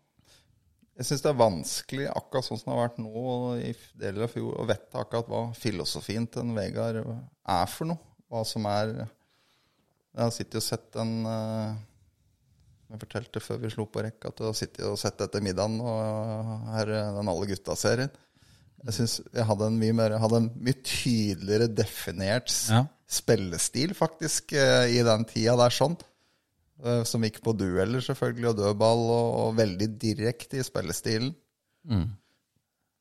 Speaker 3: Jeg syns det er vanskelig, akkurat sånn som det har vært nå og i f- deler av fjor, å vite akkurat hva filosofien til en Vegard er for noe. Hva som er Jeg har sittet og sett en eh, Jeg fortalte før vi slo på rekk, at du har sittet og sett etter middagen og her, eh, den Alle gutta-serien. Jeg synes jeg hadde en mye, mer, jeg hadde en mye tydeligere definert s-
Speaker 1: Ja.
Speaker 3: spillestil, faktisk, eh, i den tida der sånn. Eh, Som gikk på dueller, selvfølgelig, og dødball, og, og veldig direkte i spillestilen.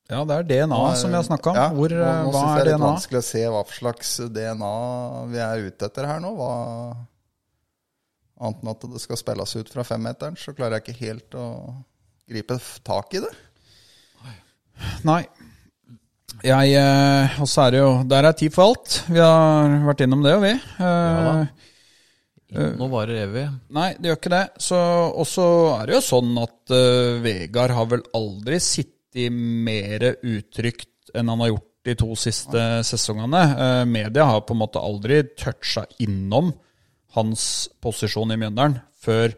Speaker 1: ja, det er DNA som vi har snakka om.
Speaker 3: Ja,
Speaker 1: Hvor,
Speaker 3: og
Speaker 1: eh,
Speaker 3: nå
Speaker 1: hva
Speaker 3: synes jeg
Speaker 1: er
Speaker 3: det er litt
Speaker 1: DNA?
Speaker 3: vanskelig å se hva slags DNA vi er ute etter her nå. Hva, annet enn at det skal spilles ut fra femmeteren, så klarer jeg ikke helt å gripe f- tak i det.
Speaker 1: Nei. Jeg eh, Og så er det jo Der er tid for alt. Vi har vært innom det, og vi. Eh,
Speaker 2: Ja da. Nå varer evig.
Speaker 1: nei, det gjør ikke det. Så, og så er det jo sånn at eh, Vegard har vel aldri sittet mer utrygt enn han har gjort de to siste sesongene. Eh, media har på en måte aldri toucha innom hans posisjon i Mjøndalen før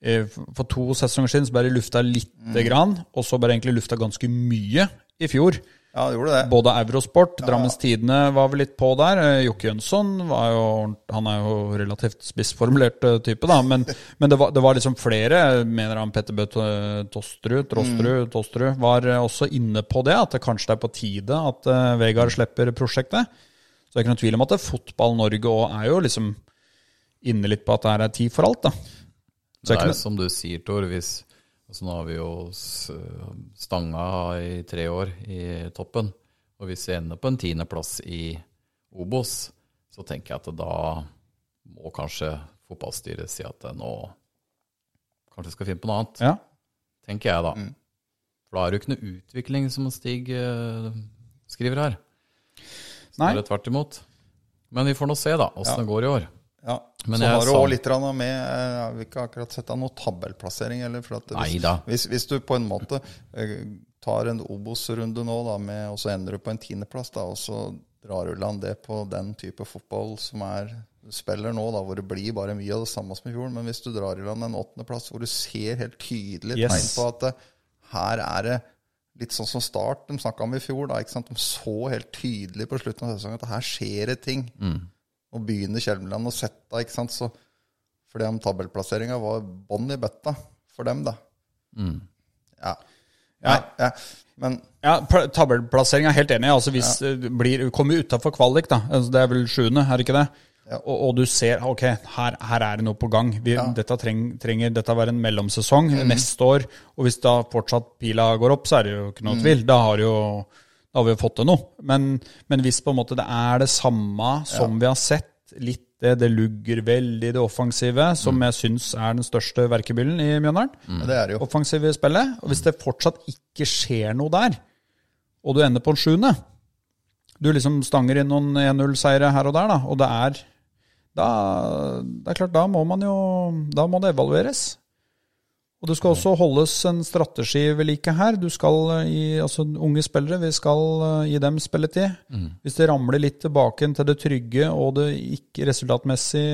Speaker 1: eh, For to sesonger siden så ble det lufta lite grann, og så ble det egentlig lufta ganske mye i fjor.
Speaker 3: Ja, det gjorde det.
Speaker 1: Både Eurosport, Drammens Tidende var vel litt på der. Eh, Jokke Jønsson var jo, han er jo relativt spissformulert eh, type, da. Men, men det, var, det var liksom flere, mener han Petter Bø eh, Tosterud, Trosterud, Tosterud, var eh, også inne på det. At det kanskje det er på tide at eh, Vegard slipper prosjektet. Så det er ikke noen tvil om at det er Fotball-Norge òg er jo liksom inne litt på at det her er tid for alt, da. Så det
Speaker 2: Det
Speaker 1: er
Speaker 2: er jo
Speaker 1: ikke
Speaker 2: som du sier, Tor. Hvis, altså nå har vi jo s- eh, stanga i tre år i toppen. Og hvis vi ender på en tiendeplass i Obos, så tenker jeg at da må kanskje fotballstyret si at eh, nå kanskje vi skal finne på noe annet.
Speaker 1: noe- Ja.
Speaker 2: Tenker jeg, da. For da er det jo ikke noe utvikling, som Stig eh, skriver her.
Speaker 1: Nei.
Speaker 2: Snarere tvert imot. Men vi får nå se, da, åssen det går i år.
Speaker 3: Ja.
Speaker 2: Men
Speaker 3: så
Speaker 2: jeg
Speaker 3: har du
Speaker 2: sa-
Speaker 3: òg litt grann med eh, Jeg vil ikke akkurat sette av noen tabellplassering. Eller, for at hvis,
Speaker 2: Neida.
Speaker 3: hvis, hvis du på en måte eh, tar en Obos-runde nå, da, med, og så ender du på en tiendeplass, da, og så drar du land det på den type fotball som er du spiller nå, da, hvor det blir bare mye av det samme som i fjor. Men hvis du drar i land en åttendeplass hvor du ser helt tydelig
Speaker 1: Yes.
Speaker 3: tegn på at eh, her er det Litt sånn som Start de snakka om i fjor. Da, ikke sant? De så helt tydelig på slutten av sesongen at her skjer det ting. Og begynner Kjelmeland å sette ikke sant? Så, Fordi om tabellplasseringa var bånn i bøtta for dem, da. Ja. Nei, ja. Men
Speaker 1: Ja, pl- Tabellplassering er jeg helt enig. i. Altså Hvis eh, du blir, kommer utafor kvalik, da. Altså, det er vel sjuende, er det ikke det?
Speaker 3: Ja.
Speaker 1: Og, og du ser ok, her, her er det noe på gang. Vi, Dette treng, trenger dette være en mellomsesong neste år. Og hvis da fortsatt pila går opp, så er det jo ikke noe tvil. Da har, jo, da har vi jo fått til noe. Men, men hvis på en måte det er det samme som vi har sett, litt det, det lugger veldig i det offensive, som jeg syns er den største verkebyllen i Mjøndalen
Speaker 3: det er det jo.
Speaker 1: offensive spillet. Og hvis det fortsatt ikke skjer noe der, og du ender på en sjuende Du liksom stanger inn noen 1-0-seire her og der, da, og det er da, Det er klart, da må man jo Da må det evalueres. Og det skal også holdes en strategi ved like her. Du skal eh, gi altså unge spillere, vi skal eh, gi dem spilletid. Hvis det ramler litt tilbake til det trygge og det ikke resultatmessig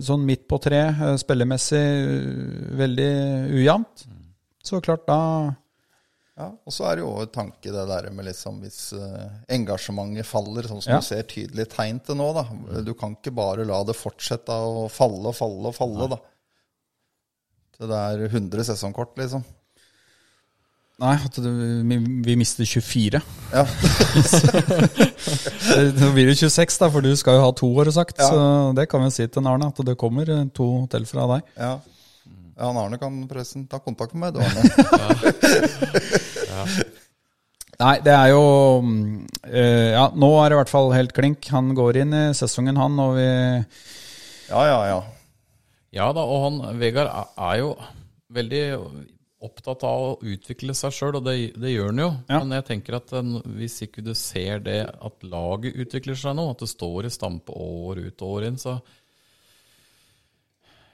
Speaker 1: sånn midt på tre, eh, spillemessig eh, veldig ujevnt. Så klart, da
Speaker 3: Ja. Og så er det jo også en tanke det der med liksom hvis eh, engasjementet faller, sånn som
Speaker 1: Ja.
Speaker 3: du ser tydelige tegn til nå, da. Du kan ikke bare la det fortsette å falle og falle og falle, da. Til det er 100 sesongkort, liksom.
Speaker 1: Nei, at det, vi, vi mister 24.
Speaker 3: Ja.
Speaker 1: Nå blir det 26, da, for du skal jo ha to, har du sagt.
Speaker 3: Ja.
Speaker 1: Så det kan vi si til Arne, at det kommer eh, to til fra deg.
Speaker 3: Ja. ja han Arne kan forresten ta kontakt med meg, du Arne.
Speaker 1: Nei, det er jo mm, eh, Ja, nå er det i hvert fall helt klink. Han går inn i sesongen, han, og vi
Speaker 3: Ja, ja, ja.
Speaker 2: Ja da, og han Vegard er- er jo veldig opptatt av å utvikle seg sjøl, og det, det gjør han jo.
Speaker 1: Ja.
Speaker 2: Men jeg tenker at en, hvis ikke du ser det at laget utvikler seg nå, at det står i stampe år ut og år inn, så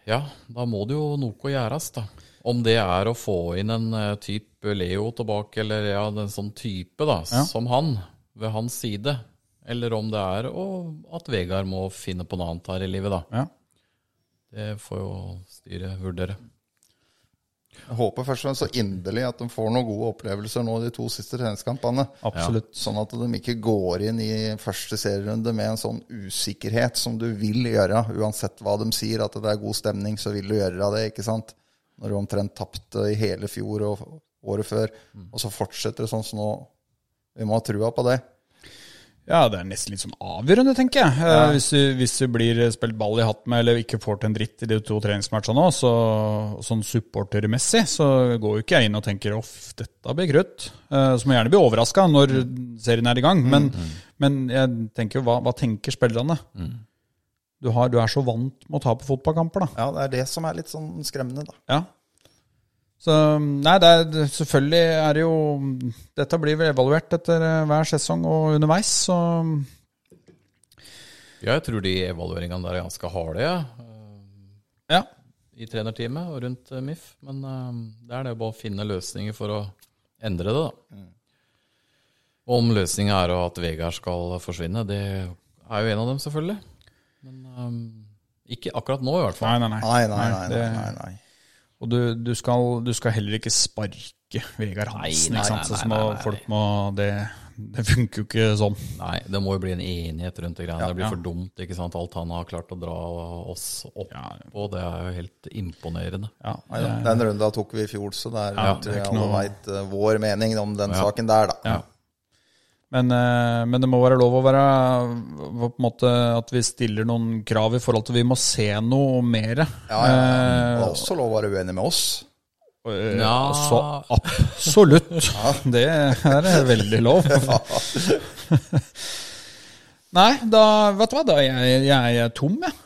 Speaker 2: Ja, da må det jo noe gjøres, da. Om det er å få inn en eh, type Leo tilbake, eller ja, en sånn type da, som han, ved hans side. Eller om det er å, at Vegard må finne på noe annet her i livet, da.
Speaker 1: Ja.
Speaker 2: Det får jo styret vurdere.
Speaker 3: Jeg håper først og fremst så inderlig at de får noen gode opplevelser nå de to siste treningskampene.
Speaker 1: Absolutt.
Speaker 3: Sånn at de ikke går inn i første serierunde med en sånn usikkerhet som du vil gjøre, uansett hva de sier, at det er god stemning, så vil du gjøre av det, ikke sant? Når du omtrent tapte i hele fjor og året før, og så fortsetter det sånn som nå. Vi må ha trua på det.
Speaker 1: Ja, det er nesten litt som avgjørende, tenker jeg. Eh, Hvis, du, hvis du blir eh, spilt ball i hatt med, eller ikke får til en dritt i de to treningsmatchene nå, så sånn supportermessig, så går jo ikke jeg inn og tenker off, dette blir krutt. Eh, Så må jeg gjerne bli overraska når serien er i gang, men, men jeg tenker jo, hva, hva tenker spillerne? Du, har, du er så vant med å tape fotballkamper, da.
Speaker 3: Ja, det er det som er litt sånn skremmende, da.
Speaker 1: Ja. Så mm, nei, det er, det- selvfølgelig er det jo Dette blir vel evaluert etter eh, hver sesong og underveis, så mm,
Speaker 2: Ja, jeg tror de evalueringene der er ganske harde ja, Eh,
Speaker 1: ja.
Speaker 2: i trenerteamet og rundt eh, MIF. Men eh, det er det å bare finne løsninger for å endre det, da.
Speaker 1: Mm.
Speaker 2: Og om løsninga er at Vegard skal forsvinne, det er jo en av dem, selvfølgelig. Men eh, ikke akkurat nå, i hvert fall.
Speaker 1: Nei, nei, nei.
Speaker 3: Nei, nei, nei. nei,
Speaker 1: det-
Speaker 3: nei, nei.
Speaker 1: Og du, du, skal, du skal heller ikke sparke Vegard Hansen,
Speaker 2: Nei, nei,
Speaker 1: ikke sant?
Speaker 2: nei,
Speaker 1: Sånn som
Speaker 2: nei,
Speaker 1: å-
Speaker 2: nei.
Speaker 1: folk må Det, det funker jo ikke sånn.
Speaker 2: Nei, det må jo bli en enighet rundt det greiene. det blir
Speaker 1: ja.
Speaker 2: for dumt, ikke sant. Alt han har klart å dra oss opp
Speaker 1: Ja.
Speaker 2: på, det er jo helt imponerende.
Speaker 1: Ja,
Speaker 3: Nei, da. Den runda tok vi i fjor, så det er,
Speaker 1: Ja, det er
Speaker 3: tror jeg
Speaker 1: ikke
Speaker 3: alle
Speaker 1: noe-
Speaker 3: vet eh, vår mening om den saken der, da.
Speaker 1: ja. Men, eh, men det må være lov å være på en måte At vi stiller noen krav i forhold til vi må se noe mer.
Speaker 3: Ja, ja, ja. Og det er også lov å være uenig med oss.
Speaker 1: Eh,
Speaker 2: Ja.
Speaker 1: Så absolutt. Det her er veldig lov. Nei, da vet du hva, da er jeg, jeg er tom, jeg.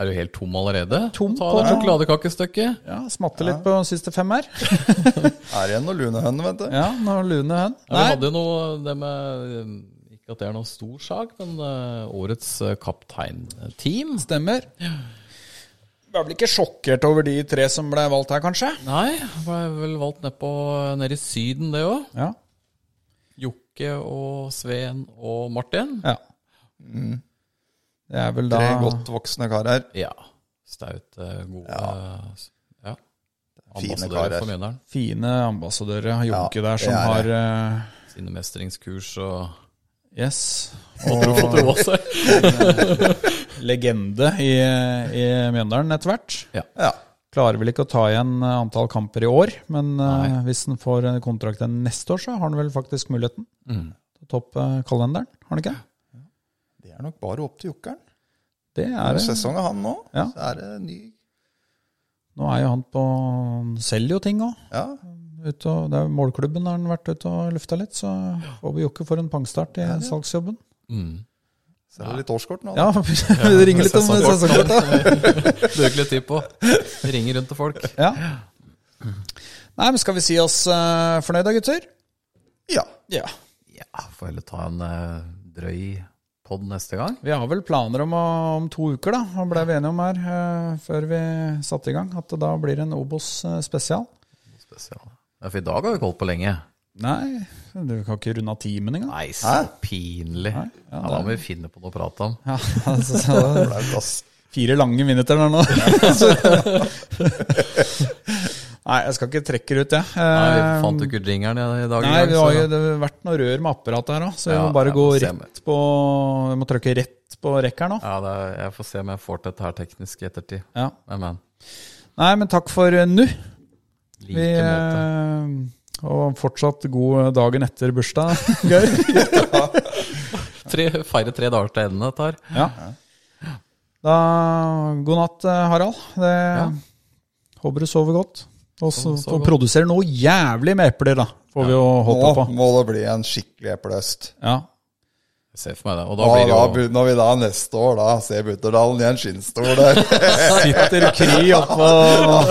Speaker 2: Er du helt tom allerede?
Speaker 1: Tom
Speaker 2: Ta
Speaker 1: på-
Speaker 2: deg et sjokoladekakestykket.
Speaker 1: Ja, Smatter litt på siste fem her.
Speaker 3: Er det igjen noen lune høner, vet du?
Speaker 1: Ja, nå lune hen.
Speaker 2: Ja, vi hadde jo noe det med eh, Ikke Ikke at det er noen stor sak, men eh, årets eh, kapteinteam
Speaker 1: Stemmer. Du er vel ikke sjokkert over de tre som ble valgt her, kanskje?
Speaker 2: Nei, ble vel valgt nedpå eh, nede i Syden, det òg.
Speaker 1: Ja.
Speaker 2: Jokke og Sveen og Martin.
Speaker 1: ja. Mm. Det er vel da
Speaker 3: Tre godt voksne karer.
Speaker 2: Ja. Staute, gode Ja. ja.
Speaker 3: Fine
Speaker 2: Ambassadører
Speaker 3: karer.
Speaker 2: for Mjøndalen.
Speaker 1: fine ambassadører av Jokke
Speaker 3: Ja,
Speaker 1: der, som
Speaker 3: det er
Speaker 1: har
Speaker 3: det.
Speaker 1: eh,
Speaker 2: Sine mestringskurs og
Speaker 1: Yes.
Speaker 2: Fått tro- fått roa seg.
Speaker 1: Legende i, i Mjøndalen etter hvert.
Speaker 2: Ja.
Speaker 3: Ja.
Speaker 1: Klarer vel ikke å ta igjen eh, antall kamper i år, men eh, hvis han får en kontrakt igjen neste år, så har han vel faktisk muligheten til å toppe eh, kalenderen, har han ikke?
Speaker 3: Det er nok bare opp til jokkeren.
Speaker 1: Det er
Speaker 3: Når
Speaker 1: det.
Speaker 3: sesongen er han nå,
Speaker 1: Ja.
Speaker 3: så er det ny
Speaker 1: Nå er jo han på Han selger jo ting òg.
Speaker 3: Ja.
Speaker 1: Ute og, det er målklubben har han vært ute og lufta litt, så håper Jokke får en pangstart i salgsjobben.
Speaker 2: Mm.
Speaker 3: Så er det litt årskort nå. da.
Speaker 1: Ja, det ringer litt om sesongkort. da.
Speaker 2: Bruker litt tid på. Ringer rundt til folk.
Speaker 1: Ja. Nei, men skal vi si oss uh, fornøyd da, gutter?
Speaker 3: Ja.
Speaker 1: Ja.
Speaker 2: Ja, får heller ta en eh, drøy pod neste gang.
Speaker 1: Vi har vel planer om, å- om to uker, da, og ble vi enige om her eh, før vi satte i gang, at det da blir det en Obos eh, spesial.
Speaker 2: Spesial. Ja, for i dag har vi ikke holdt på lenge.
Speaker 1: Nei, du kan ikke runde av timen engang.
Speaker 2: Nei, så pinlig. Ja, da må vi finne på noe å prate om.
Speaker 1: Ja, altså, så-
Speaker 3: Flaut, ass.
Speaker 1: Fire lange minutter der nå. Nei, jeg skal ikke trekke det ut, jeg.
Speaker 2: Nei, vi
Speaker 1: Eh,
Speaker 2: fant jo ikke jingeren i dag.
Speaker 1: Nei, det
Speaker 2: så-
Speaker 1: har jo det har vært noe rør med apparatet her òg, så vi
Speaker 2: Ja,
Speaker 1: må bare
Speaker 2: jeg
Speaker 1: gå
Speaker 2: må se med.
Speaker 1: rett på Vi må trykke rett på rekk her nå.
Speaker 2: Ja, det er, jeg får se om jeg får til dette her teknisk i ettertid.
Speaker 1: Ja.
Speaker 2: Men, men.
Speaker 1: Nei, men takk for eh, nå. Vi,
Speaker 2: Like måte.
Speaker 1: eh, og fortsatt god eh, dagen etter bursdag, Geir.
Speaker 2: Tre, feire tre dager til enden dette her.
Speaker 1: Ja. Da, god natt, eh, Harald. Det, Håper du sover godt. Og så
Speaker 2: Sover- sover
Speaker 1: og
Speaker 2: godt.
Speaker 1: produserer noe jævlig med epler, da. Får vi jo håpe
Speaker 3: Nå
Speaker 1: på.
Speaker 3: må det bli en skikkelig eplehøst.
Speaker 1: Ja.
Speaker 2: Jeg ser for meg det. Og da
Speaker 3: Og
Speaker 2: blir det
Speaker 3: da
Speaker 2: jo
Speaker 3: begynner vi da neste år, da. Se Butterdalen i en skinnstol der.
Speaker 1: Sitter Kry oppå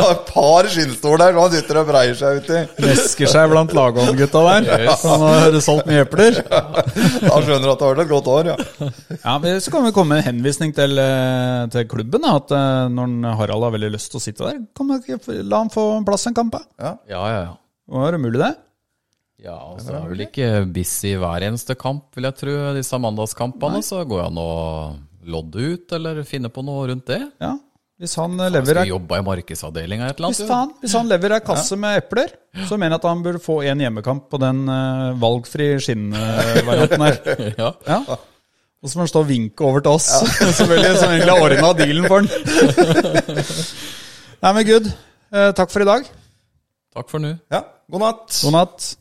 Speaker 3: Et par skinnstoler man sitter og breier seg uti.
Speaker 1: mesker seg blant lagåndgutta der. Han har solgt mye epler.
Speaker 3: Da skjønner du at det har vært et godt år, ja.
Speaker 1: Ja, men Så kan vi komme med en henvisning til, eh, til klubben. Da, at eh, Når en Harald har veldig lyst til å sitte der, kan man ikke la han få en plass en kamp. da?
Speaker 2: Ja, ja, ja.
Speaker 1: Og Er det mulig, det?
Speaker 2: Ja, og så er det vel ikke busy hver eneste kamp, vil jeg tro. Disse mandagskampene, så går det an å lodde ut, eller finne på noe rundt det.
Speaker 1: Ja. Hvis han eh,
Speaker 2: Jeg
Speaker 1: lever
Speaker 2: skulle
Speaker 1: ei
Speaker 2: jobba i markedsavdelinga et eller
Speaker 1: hvis
Speaker 2: annet.
Speaker 1: faen, hvis han lever ei kasse med epler, så mener jeg at han burde få en hjemmekamp på den eh, valgfri skinnvarianten her.
Speaker 2: jo. Ja.
Speaker 1: Ja. Og så må han stå og vinke over til oss, selvfølgelig, som egentlig har ordna dealen for han. Nei, men good. Eh, takk for i dag.
Speaker 2: Takk for nå.
Speaker 3: ja. God natt.
Speaker 1: God natt.